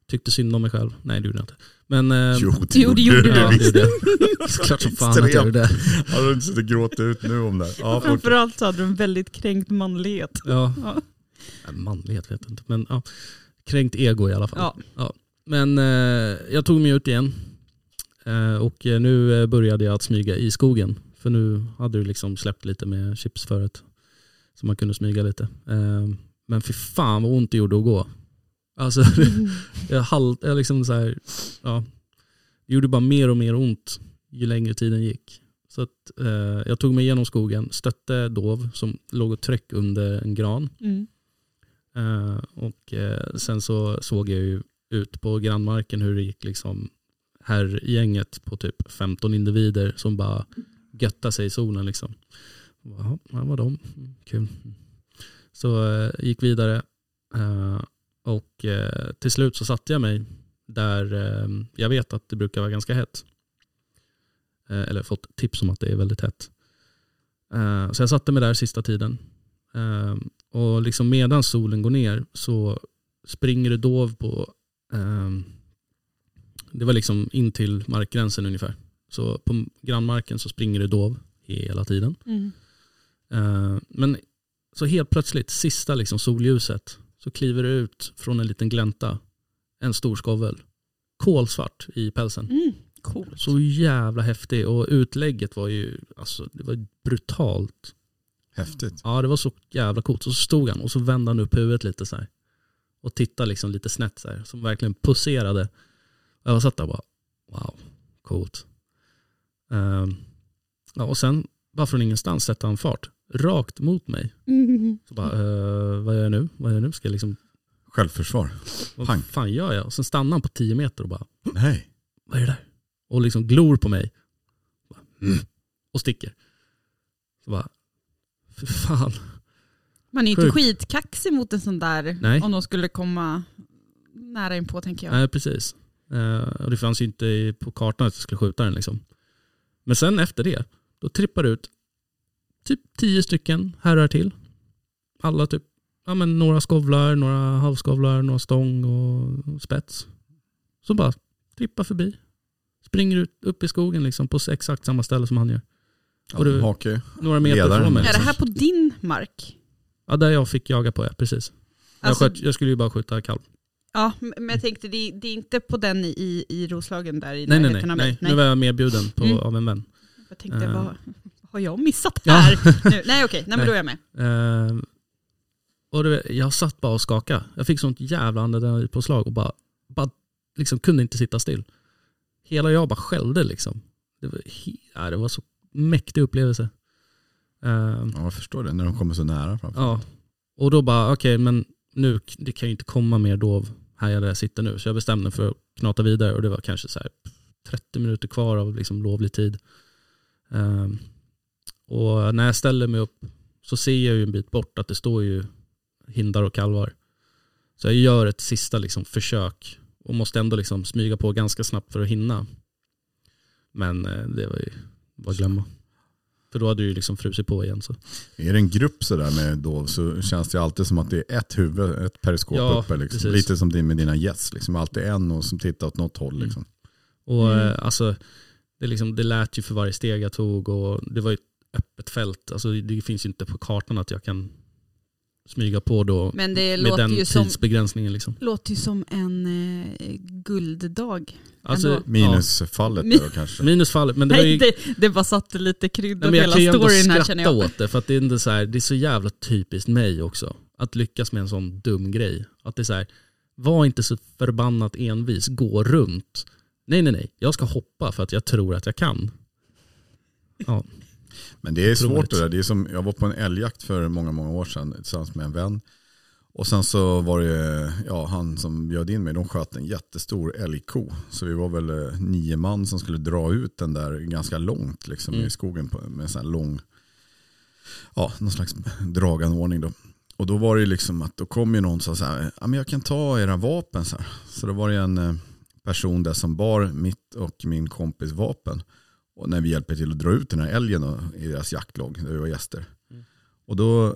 S4: tyckte synd om mig själv. Nej det gjorde jag inte. Men, eh,
S5: Jo, det
S3: Jo, det gjorde du.
S4: ja,
S5: Ja,
S4: det gjorde jag. Klart som fan att jag gjorde det.
S5: Har du inte suttit och gråtit ut nu om det här? Ja, fortsätt.
S3: Framförallt så hade du en väldigt kränkt manlighet.
S4: Ja.
S3: Ja.
S4: Ja, Manlighet vet jag inte, men ja. kränkt ego i alla fall.
S3: Ja.
S4: Men eh, jag tog mig ut igen eh, och eh, nu eh, började jag att smyga i skogen. För nu hade du liksom släppt lite med chips förut. Så man kunde smyga lite. Eh, men för fan vad ont det gjorde att gå. Alltså jag, halt, jag liksom så här, ja. Det gjorde bara mer och mer ont ju längre tiden gick. Så att, eh, jag tog mig igenom skogen, stötte dov som låg och tryck under en gran.
S3: Mm.
S4: Eh, och eh, sen så såg jag ju ut på grannmarken hur det gick liksom herrgänget på typ 15 individer som bara götta sig i solen liksom. Jaha, här var de. Mm, Kul. Så eh, gick vidare eh, och eh, till slut så satte jag mig där eh, jag vet att det brukar vara ganska hett. Eh, eller fått tips om att det är väldigt hett. Eh, så jag satte mig där sista tiden. Eh, och liksom medan solen går ner så springer det dov på, ehm, det var liksom in till markgränsen ungefär. Så på grannmarken så springer det dov hela tiden.
S3: Mm.
S4: Eh, men så helt plötsligt, sista liksom solljuset, så kliver det ut från en liten glänta en stor skovel. Kolsvart i pälsen.
S3: Mm. Coolt.
S4: Så jävla häftig och utlägget var ju alltså, det var brutalt.
S5: Häftigt.
S4: Ja, det var så jävla coolt. Så stod han och så vände han upp huvudet lite så här. Och tittade liksom lite snett så här. Som verkligen pulserade. Och Jag satt där och bara, wow, coolt. Ehm, ja, och sen, bara från ingenstans, sätter han fart. Rakt mot mig.
S3: Mm.
S4: Så bara, eh, vad gör jag nu? Vad gör jag nu? Ska jag liksom,
S5: Självförsvar.
S4: vad
S5: Pang.
S4: fan gör jag? Och sen stannar han på 10 meter och bara,
S5: Nej.
S4: vad är det där? Och liksom glor på mig. Bara, mm. Och sticker. Så bara, för fan.
S3: Man är ju inte
S4: Sjukt.
S3: skitkaxig mot en sån där
S4: Nej.
S3: om de skulle komma nära inpå tänker jag.
S4: Nej, precis. Eh, och det fanns ju inte i- på kartan att jag skulle skjuta den. Liksom. Men sen efter det, då trippar det ut typ tio stycken herrar till. Alla typ, ja men några skovlar, några halvskovlar, några stång och spets. Som bara trippar förbi. Springer ut, upp i skogen liksom på exakt samma ställe som han gör.
S5: Ja,
S4: Och du-
S5: Hake.
S4: Några meter
S5: Ledaren.
S4: från mig.
S3: Är det
S4: Liksom.
S3: här på din mark?
S4: Ja, där jag fick jaga på, ja, precis.
S3: Alltså-
S4: jag, sköt, jag skulle ju bara skjuta kalv.
S3: Ja, m- men jag tänkte det, det är inte på den i, i Roslagen där i
S4: Nej, nej,
S3: närheten
S4: nej,
S3: av
S4: nej.
S3: mig.
S4: Nu var jag medbjuden på,
S3: Mm.
S4: av en vän.
S3: Jag tänkte,
S4: Eh.
S3: vad har jag missat
S4: Ja.
S3: här? Nu? Nej okej, nej men då är jag med.
S4: Eh, och du vet, jag satt bara och skakade. Jag fick sånt jävla adrenalinpåslag och bara, bara liksom kunde inte sitta still. Hela jag bara skällde liksom. Det var, he- ja, det var så mäktig upplevelse. Eh,
S5: Ja, jag förstår det. När de kommer så nära framför.
S4: ja. Och då bara, okej men nu, det kan ju inte komma mer dov här där jag sitter nu. Så jag bestämde mig för att knata vidare och det var kanske så här 30 minuter kvar av liksom lovlig tid. Ehm, och när jag ställer mig upp så ser jag ju en bit bort att det står ju hindar och kalvar. Så jag gör ett sista liksom försök och måste ändå liksom smyga på ganska snabbt för att hinna. Men eh, det var ju bara att glömma. För då hade du ju liksom frusit på igen. Så.
S5: Är det en grupp sådär med dov så känns det alltid som att det är ett huvud, ett periskop
S4: Ja,
S5: uppe. Liksom.
S4: precis.
S5: Lite som din med dina gäss. Liksom. Alltid en och som tittar åt något håll. Liksom.
S4: Och
S3: Mm.
S4: eh, alltså, det, liksom, det lät ju för varje steg jag tog och det var ju ett öppet fält. Alltså, det finns ju inte på kartan att jag kan smyga på då
S3: Men det
S4: med
S3: låter
S4: den
S3: ju, som,
S4: tidsbegränsningen. Liksom.
S3: låter ju som en eh, gulddag.
S4: Alltså,
S5: Minusfallet
S3: Mi-
S5: där då kanske.
S4: Ja, minusfallet, men det var ju...
S3: Nej, det, det bara satte lite krydda
S4: Nej,
S3: på hela
S4: men jag kan ju ändå
S3: storyn här känner
S4: skratta
S3: jag.
S4: åt det för att det är, inte så här, det är så jävla typiskt mig också. Att lyckas med en sån dum grej. Att det är så här, var inte så förbannat envis, gå runt. Nej nej nej, jag ska hoppa för att jag tror att jag kan.
S5: Men det är svårt
S4: Otroligt.
S5: det där. Det är som, jag var på en älgjakt för många, många år sedan tillsammans med en vän. Och sen så var det ja, han som bjöd in mig, de sköt en jättestor älgko. Så vi var väl eh, nio man som skulle dra ut den där ganska långt liksom,
S4: Mm.
S5: i skogen på, med en sån här lång, ja, någon slags draganordning då. Och då var det ju liksom att då kom ju någon som sa så här, ja men jag kan ta era vapen så här. Så då var det en eh, person där som bar mitt och min kompis vapen. Och när vi hjälper till att dra ut den här älgen då, i deras jaktlag, där vi var gäster. Och då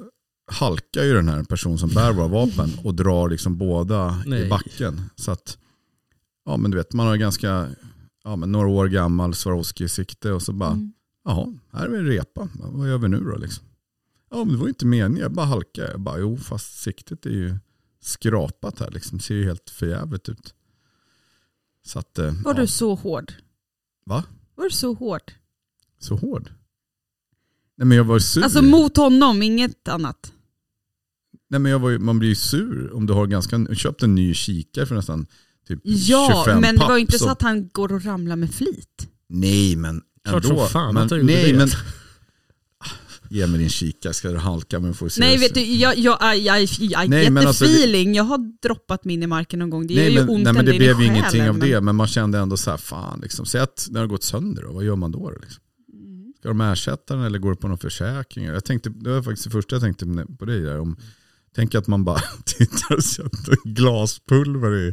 S5: halkar ju den här personen som bär våra vapen och drar liksom båda i
S4: Nej.
S5: backen. Så att, ja men du vet, man har ganska, ja men några år gammal Swarovski-sikte och så bara,
S3: Mm.
S5: jaha, här är vi en repa, vad gör vi nu då liksom? Ja men det var ju inte meningen, jag bara halkade. Jag bara, jo fast siktet är ju skrapat här liksom, det ser ju helt förjävligt ut. Så att, eh,
S3: Var
S5: ja,
S3: du så hård?
S5: Va?
S3: Var du så hård?
S4: Mm.
S5: så hård. Nej men jag var sur.
S3: Alltså mot honom, inget annat.
S5: Nej, men jag var ju, man blir ju sur om du har ganska, köpt en ny kikare för nästan typ
S3: Ja,
S5: 25
S3: men det var ju inte
S5: papp,
S3: så att han går och ramlar med flit.
S5: Nej men
S4: Klart som fan
S5: men,
S4: att jag gjorde
S5: nej,
S4: det.
S5: Men, Ah, ge mig din kikare ska du halka men får vi se.
S3: Nej, vet du, jag, jag, jag, jag, jag
S5: Nej, men alltså,
S3: jättefeeling. jag har droppat min i marken någon gång. Det
S5: nej,
S3: gör ju
S5: men,
S3: ont
S5: nej men
S3: ända in
S5: det
S3: i
S5: blev ju
S3: själen,
S5: ingenting av
S3: men-
S5: det men man kände ändå så här fan liksom. Säg att den har gått sönder då, vad gör man då? då, Liksom?
S3: Mm.
S5: Ska de ersätta den eller går det på någon försäkring? Jag tänkte, det var faktiskt det första jag tänkte på dig där. Om, Tänk att man bara tittar och ser att det är glaspulver i,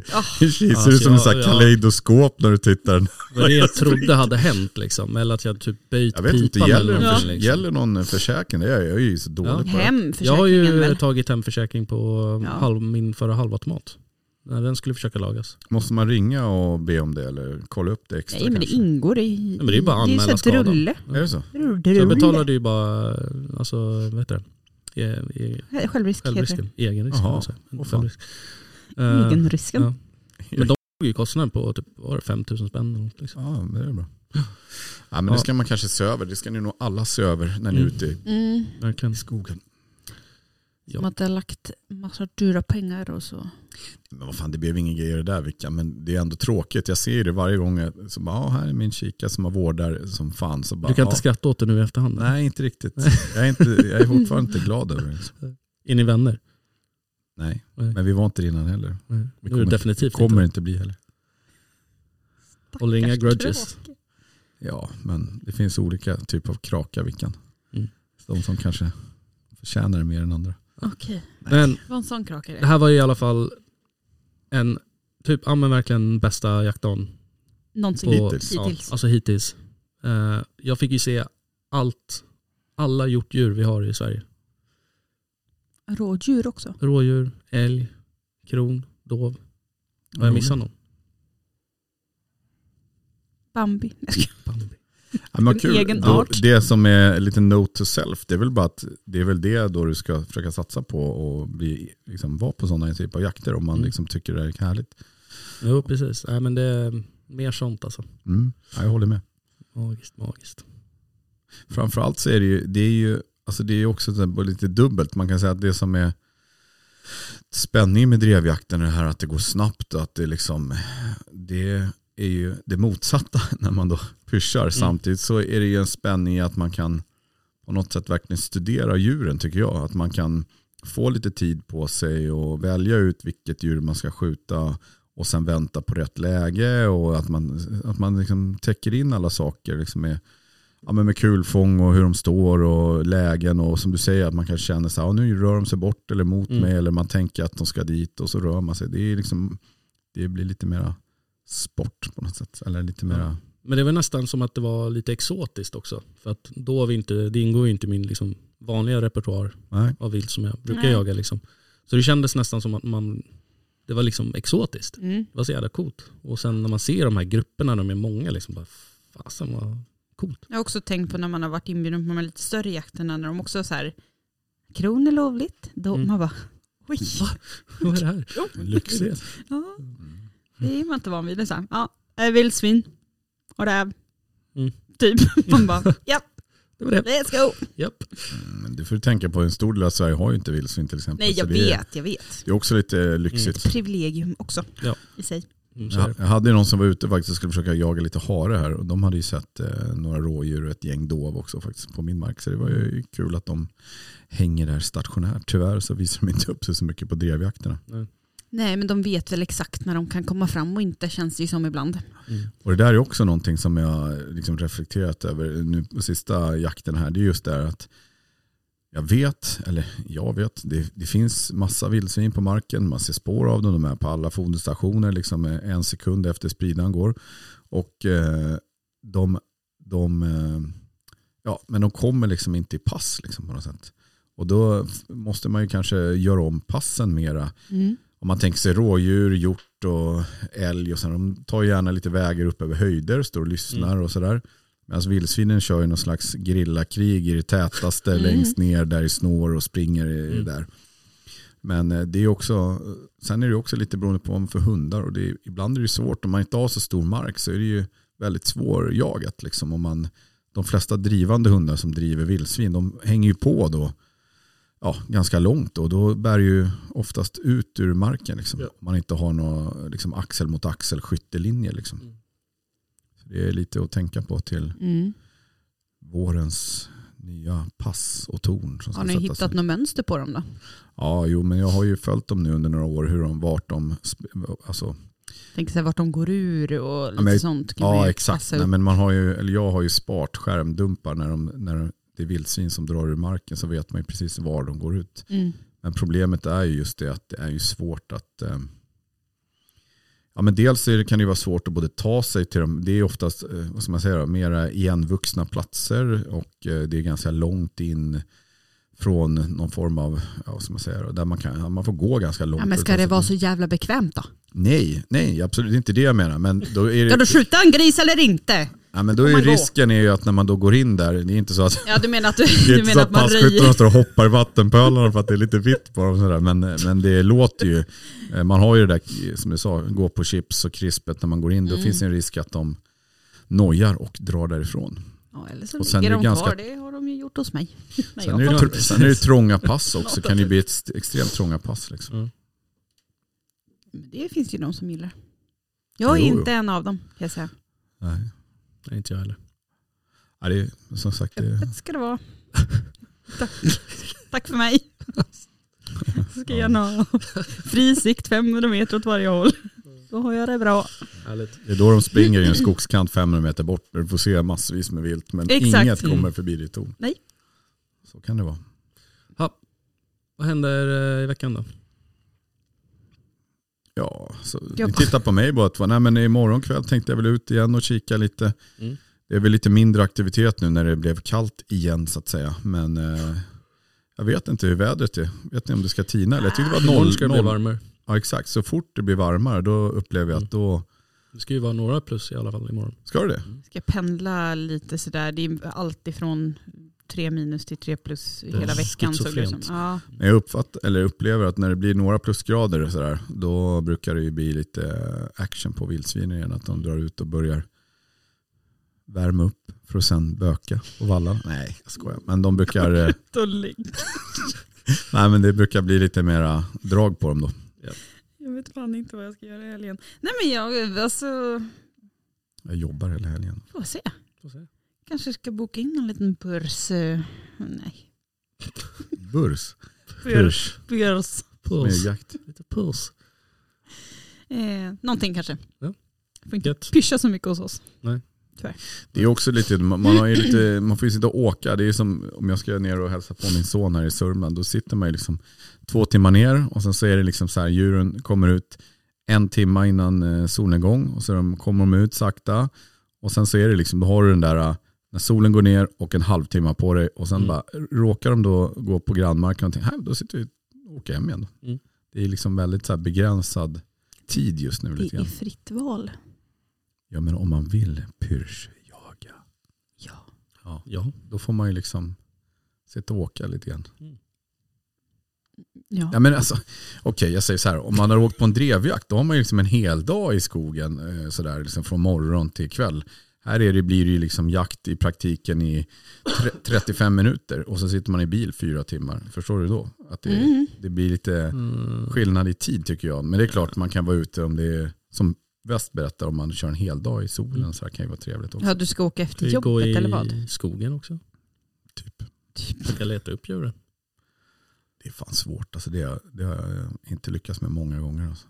S5: i kikaren. Det ser ut
S4: Alltså,
S5: som ett
S4: jag-
S5: så här
S4: jag-
S5: kaleidoskop när du tittar.
S4: Vad det jag trodde hade hänt liksom. Eller att jag typ böjt
S5: Jag vet inte,
S4: pipan
S5: gäller,
S4: eller
S5: ja.
S4: någonting. Liksom.
S5: gäller någon försäkring? Jag är, jag är ju så dålig
S4: Ja.
S5: på det.
S4: Jag har ju
S3: Hemförsäkringen väl?
S4: tagit hemförsäkring på um,
S3: Ja.
S4: halv, min förra halvautomat. När den skulle försöka lagas.
S5: Måste man ringa och be om det eller kolla upp det extra?
S3: Nej, men det
S5: kanske?
S3: ingår i... Nej,
S4: men det är ju bara att anmäla skadan.
S3: drulle.
S5: Är det så?
S4: Så
S3: drulle.
S4: jag betalade ju bara, alltså vad heter det? E, e,
S3: Självrisk heter det.
S4: självrisken. Egenrisk.
S5: Jaha.
S4: kan man säga.
S5: Åh, fan.
S4: Självrisk. alltså. Eh,
S3: Egenrisken.
S4: ja. Men de tog ju kostnaden på typ, vad var det 5 000 spänn eller något, liksom.
S5: Ja, men det är bra. Ja, men
S4: Ja.
S5: det ska man kanske se över. Det ska ni nog alla se över när ni är
S4: Mm.
S5: ute i
S3: Mm.
S4: Verkligen.
S5: skogen.
S4: Ja.
S3: Som att det har lagt massa dyra pengar och så.
S5: Men vad fan, det blev ingen grej i det där Vickan. Men det är ändå tråkigt. Jag ser ju det varje gång. jag- Så bara, ja, här är min kika som har vårdar som fan. Så bara,
S4: Du kan inte
S5: ja.
S4: skratta åt det nu i efterhand?
S5: Nej, inte riktigt. Jag är, inte, jag är fortfarande inte glad över det.
S4: Är ni vänner?
S5: Nej,
S4: Nej.
S5: men vi var inte det innan heller.
S4: Nej.
S5: Vi
S4: Nu är det
S5: kommer-
S4: definitivt
S5: Kommer
S4: inte.
S5: inte bli heller.
S4: Håller inga
S3: Stackars
S4: grudges.
S3: kråk.
S5: Ja, men det finns olika typer av kraka Vickan.
S4: Mm.
S5: De som kanske förtjänar det mer än andra.
S3: Okej,
S4: Men
S5: Mm.
S3: det var en sån krakare.
S4: Det här var ju i alla fall en, typ, ja men verkligen bästa jaktdagen.
S3: Någonsin.
S4: På,
S5: Hittills.
S4: Ja,
S3: Hittills.
S4: alltså hittills. Eh, jag fick ju se allt, alla hjortdjur vi har i Sverige.
S3: Rådjur också.
S4: Rådjur, älg, kron, dov. Har
S5: Mm.
S4: jag missat någon?
S3: Bambi. Jag ska-
S4: Bambi.
S5: Ja, men vad
S3: En
S5: kul.
S3: egen
S5: Då,
S3: art.
S5: det som är lite note to self, det är väl bara att det är väl det då du ska försöka satsa på och bli, liksom, vara på sådana typer av jakter om man
S4: Mm.
S5: liksom, tycker det är härligt.
S4: Jo precis, Nej, men det är mer sånt alltså.
S5: Mm. Ja, jag håller med.
S4: Magiskt, magiskt.
S5: Framförallt så är det ju, det är ju alltså det är ju också så här lite dubbelt. Man kan säga att det som är spänningen med drevjakten är det här att det går snabbt och att det liksom, det är ju det motsatta när man då pyschar. Samtidigt så är det ju en spänning i att man kan på något sätt verkligen studera djuren tycker jag. Att man kan få lite tid på sig och välja ut vilket djur man ska skjuta och sen vänta på rätt läge och att man, att man liksom täcker in alla saker liksom med, ja, men med kulfång och hur de står och lägen och som du säger att man kanske känner så här, ja, nu rör de sig bort eller mot
S4: Mm.
S5: mig eller man tänker att de ska dit och så rör man sig. Det, är liksom, det blir lite mera sport på något sätt. Eller lite mera,
S4: Men det var nästan som att det var lite exotiskt också. För att då var vi inte, det ingår ju inte i min liksom, vanliga repertoar
S5: nej.
S4: av vilt som jag brukar
S3: Nej.
S4: jaga. Liksom. Så det kändes nästan som att man, det var liksom exotiskt.
S3: Mm.
S4: Det var så jävla coolt. Och sen när man ser de här grupperna, de är många, liksom bara, fasen vad coolt.
S3: Jag har också tänkt på när man har varit inbjuden på de här lite större jakterna när de också så här, kron är lovligt. Då
S4: Mm.
S3: man bara, oj,
S4: Vad är det här?
S5: Lyxigt.
S3: ja, det är man inte van vid. Det är så här, ja, äh, vildsvin och räv.
S4: Mm.
S3: Typ. Man bara, ja,
S4: Det var det.
S3: let's go.
S4: Japp.
S5: Men du Mm, får du tänka på, en stor del av Sverige har ju inte vildsvin till exempel.
S3: Nej,
S5: så
S3: jag
S5: Alltså, det är-
S3: vet, jag vet.
S5: Det är också lite
S3: Mm.
S5: lyxigt.
S3: Privilegium också
S4: Ja.
S3: i sig.
S4: Mm, så är
S5: Jag,
S4: det.
S5: jag hade ju någon som var ute faktiskt och skulle försöka jaga lite hare här och de hade ju sett eh, några rådjur och ett gäng dov också faktiskt på min mark. Så det var ju kul att de hänger där stationärt. Tyvärr så visar de inte upp sig så mycket på drevjakterna.
S3: Nej, men de vet väl exakt när de kan komma fram och inte känns det ju som ibland.
S4: Mm.
S5: Och det där är också någonting som jag liksom reflekterat över nu på sista jakten här. Det är just det här att jag vet, eller jag vet, det, det finns massa vildsvin på marken. Man ser spår av dem. De är på alla foderstationer liksom en sekund efter spridan går. Och eh, de, de, eh, ja, men de kommer liksom inte i pass liksom på något sätt. Och då f- måste man ju kanske göra om passen mera om man tänker sig rådjur, hjort och älg och sen de tar ju gärna lite vägar upp över höjder, står och lyssnar och sådär. Medan vildsvinen kör ju någon slags grillakrig i det tätaste
S3: Mm.
S5: längst ner där i snår och springer i-
S4: Mm.
S5: där. Men eh, det är också, sen är det också lite beroende på vad man för hundar och det är, ibland är det ju svårt om man inte har så stor mark så är det ju väldigt svårjagat liksom om man de flesta drivande hundar som driver vildsvin, de hänger ju på då ja, ganska långt och då bär ju oftast ut ur marken. Liksom.
S4: Ja.
S5: Om man inte har någon liksom, axel mot axel skyttelinje. Liksom.
S4: Mm.
S5: Så det är lite att tänka på till vårens nya pass och torn. Som ska
S3: Har ni
S5: sättas
S3: hittat
S5: in.
S3: något mönster på dem då?
S5: Ja, jo, men jag har ju följt dem nu under några år, hur de, vart de, sp- alltså,
S3: Tänk så här vart de går ur och lite
S5: men jag-
S3: sånt. Kan man
S5: Ja
S3: ju
S5: exakt.
S3: passa
S5: Nej,
S3: upp.
S5: men man har ju, eller jag har ju spart skärmdumpar när, de, när det är vildsvin som drar ur marken så vet man ju precis var de går ut.
S3: Mm.
S5: Men problemet är ju just det att det är ju svårt att eh, Ja, men dels är det, kan det ju vara svårt att både ta sig till dem, det är oftast eh, vad ska man säga då, mera igenvuxna platser och eh, det är ganska långt in från någon form av, ja, vad ska man säga då, där man, kan, man får gå ganska långt.
S3: Ja, men ska det vara så jävla bekvämt då?
S5: Nej, nej absolut, det är inte det jag menar. Men då är det,
S3: Ska du skjuta en gris eller inte?
S5: Ja, men då
S3: Får
S5: är
S3: man gå?
S5: risken är ju att när man då går in där, det är inte så att,
S3: Ja, du menar att, du,
S5: det är
S3: du
S5: inte så
S3: menar
S5: att
S3: att man
S5: passkyttarna
S3: röjer?
S5: står och hoppar i vattenpölarna för att det är lite vitt på dem. Sådär. Men, men det låter ju, eh, man har ju det där som du sa, gå på chips och krispet när man går in,
S3: Mm.
S5: då finns det en risk att de nojar och drar därifrån.
S3: Ja, eller så
S5: Och sen
S3: ligger
S5: är det
S3: de
S5: ganska-
S3: kvar. Det har de ju gjort hos mig. Nej,
S5: Sen är, det,
S3: jag
S5: tr- sen är det trånga pass också, kan det ju bli ett st- extremt trånga pass. Liksom.
S3: Men Det finns ju de som gillar. Jag är
S5: Jo, jo.
S3: inte en av dem, kan jag säga.
S5: Nej.
S4: Nej, inte jag heller.
S5: Ja, det är, som sagt, det,
S3: Öppet ska det vara. Tack, Tack för mig. Så ska jag gärna ha fri sikt 500 meter åt varje håll. Då har jag det bra.
S4: Härligt.
S5: det är då de springer i en skogskant 500 meter bort, där du får se massvis med vilt, men
S3: Exakt.
S5: inget kommer
S4: Mm.
S5: förbi ditt torn.
S3: Nej.
S5: Så kan det vara.
S4: Vad händer eh, i veckan då?
S5: Ja, så
S3: Jag-
S5: ni tittar på mig bara att nej, men imorgon kväll tänkte jag väl ut igen och kika lite.
S4: Mm.
S5: Det är väl lite mindre aktivitet nu när det blev kallt igen så att säga. Men eh, jag vet inte hur vädret är. Vet ni om det ska tina? Eller jag tyckte det var
S4: Ah, Imorgon
S5: noll.
S4: ska det bli
S5: noll.
S4: varmare.
S5: Ja exakt, så fort det blir varmare då upplever jag att
S4: Mm.
S5: då
S4: Det ska ju vara några plus i alla fall imorgon. Mm.
S5: ska det det.
S3: Ska pendla lite sådär. Det är allt ifrån 3 minus till 3 plus
S4: är
S3: hela veckan. Så det som.
S4: schizofrent.
S3: Ja.
S5: Men jag uppfattar, eller upplever att när det blir några plusgrader och sådär, då brukar det ju bli lite action på vildsvinen igen. Att de drar ut och börjar värma upp för att sen böka och valla. Nej, jag skojar. Men de brukar, eh,
S3: Tulling.
S5: nej, men det brukar bli lite mera drag på dem då.
S3: Jag vet fan inte vad jag ska göra i helgen. Nej men jag, alltså,
S5: Jag jobbar hela helgen.
S3: får se.
S4: Får se.
S3: Kanske ska boka in en liten börs. eh, Nej.
S5: Burs.
S3: Börs. Börs.
S4: Puss.
S5: Med jakt.
S4: Lite puss.
S3: Eh, någonting kanske.
S4: Ja.
S3: Får inte
S4: Gött.
S3: pyscha så mycket hos oss.
S5: Det är också lite, man, man har ju lite, man får ju sitta och åka. Det är ju som om jag ska ner och hälsa på min son här i Sörmland. Då sitter man ju liksom två timmar ner och sen så är det liksom så här, djuren kommer ut en timme innan eh, solnedgång och så de, kommer de ut sakta. Och sen så är det liksom, då har du den där eh, när solen går ner och en halvtimme på dig och sen
S4: Mm.
S5: bara råkar de då gå på grannmarken och tänka, "Nej, då sitter vi och åker hem igen. då."
S4: Mm.
S5: Det är liksom väldigt så här begränsad tid just nu lite
S3: Det är
S5: grann.
S3: fritt val.
S5: Ja men om man vill pyrschjaga.
S3: Ja.
S5: Ja,
S4: Ja.
S5: då får man ju liksom sitta och åka lite grann.
S3: Ja.
S5: Ja, men alltså, Okej, jag säger så här. Om man har åkt på en drevjakt, då har man ju liksom en hel dag i skogen eh, så där, liksom från morgon till kväll. Här är det, blir det ju liksom jakt i praktiken i tre, 35 minuter och så sitter man i bil fyra timmar. Förstår du då? Att det,
S3: Mm.
S5: det blir lite
S4: Mm.
S5: skillnad i tid tycker jag. Men det är klart man kan vara ute om det är, som Väst berättar, om man kör en hel dag i
S3: Mm.
S5: solen så här kan ju vara trevligt också.
S3: ja, du ska åka efter
S4: Ska vi gå
S3: jobbet
S4: i
S3: eller vad?
S4: skogen också?
S5: Typ.
S4: Ska leta upp djuren?
S5: Det är fan svårt. Alltså det, har- det har jag inte lyckats med många gånger. Alltså.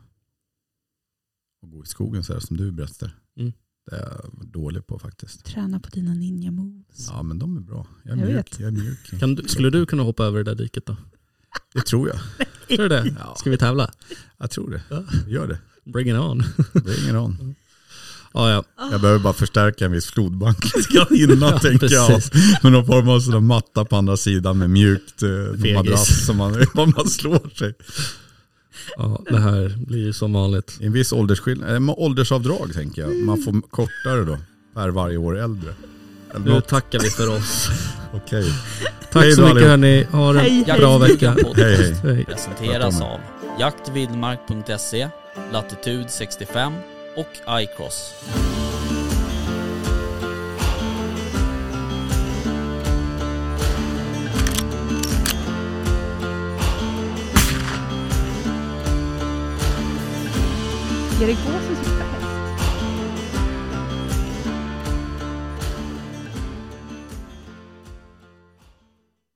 S5: Att gå i skogen så här som du berättade.
S4: Mm.
S5: Det är jag dålig på faktiskt.
S3: Träna på dina ninja moves.
S5: Ja men de är bra. Jag är
S3: Jag
S5: mjuk.
S3: vet.
S5: Jag är mjuk.
S4: Kan du, skulle du kunna hoppa över det där diket då?
S5: Det tror jag.
S4: Tror du det?
S5: Ja,
S4: Ska vi tävla?
S5: jag tror det.
S4: Ja.
S5: Gör det.
S4: Bring it on.
S5: Det är ingen
S4: Mm.
S5: aning.
S4: Ja, ja.
S3: Ah.
S5: Jag behöver bara förstärka en viss flodbank innan tänker jag. Men någon form av sån matta på andra sidan med mjukt eh,
S4: Fegis.
S5: madrass som man, vad man slår sig.
S4: ja, det här blir ju som vanligt.
S5: Det är En viss åldersskillnad, eh, men åldersavdrag tänker jag. Man får kortare då, per varje år äldre. Eller
S4: Nu
S5: något.
S4: tackar vi för oss.
S5: Okej. Hej
S4: Tack så
S5: då,
S4: mycket
S5: allihop.
S4: hörni. Ha en
S3: Hej,
S4: bra
S3: hej.
S4: vecka.
S5: Hej, hej.
S4: Hej.
S2: presenteras av jaktvildmark.se, Latitude 65 och iCross.
S3: Erik Gåsen som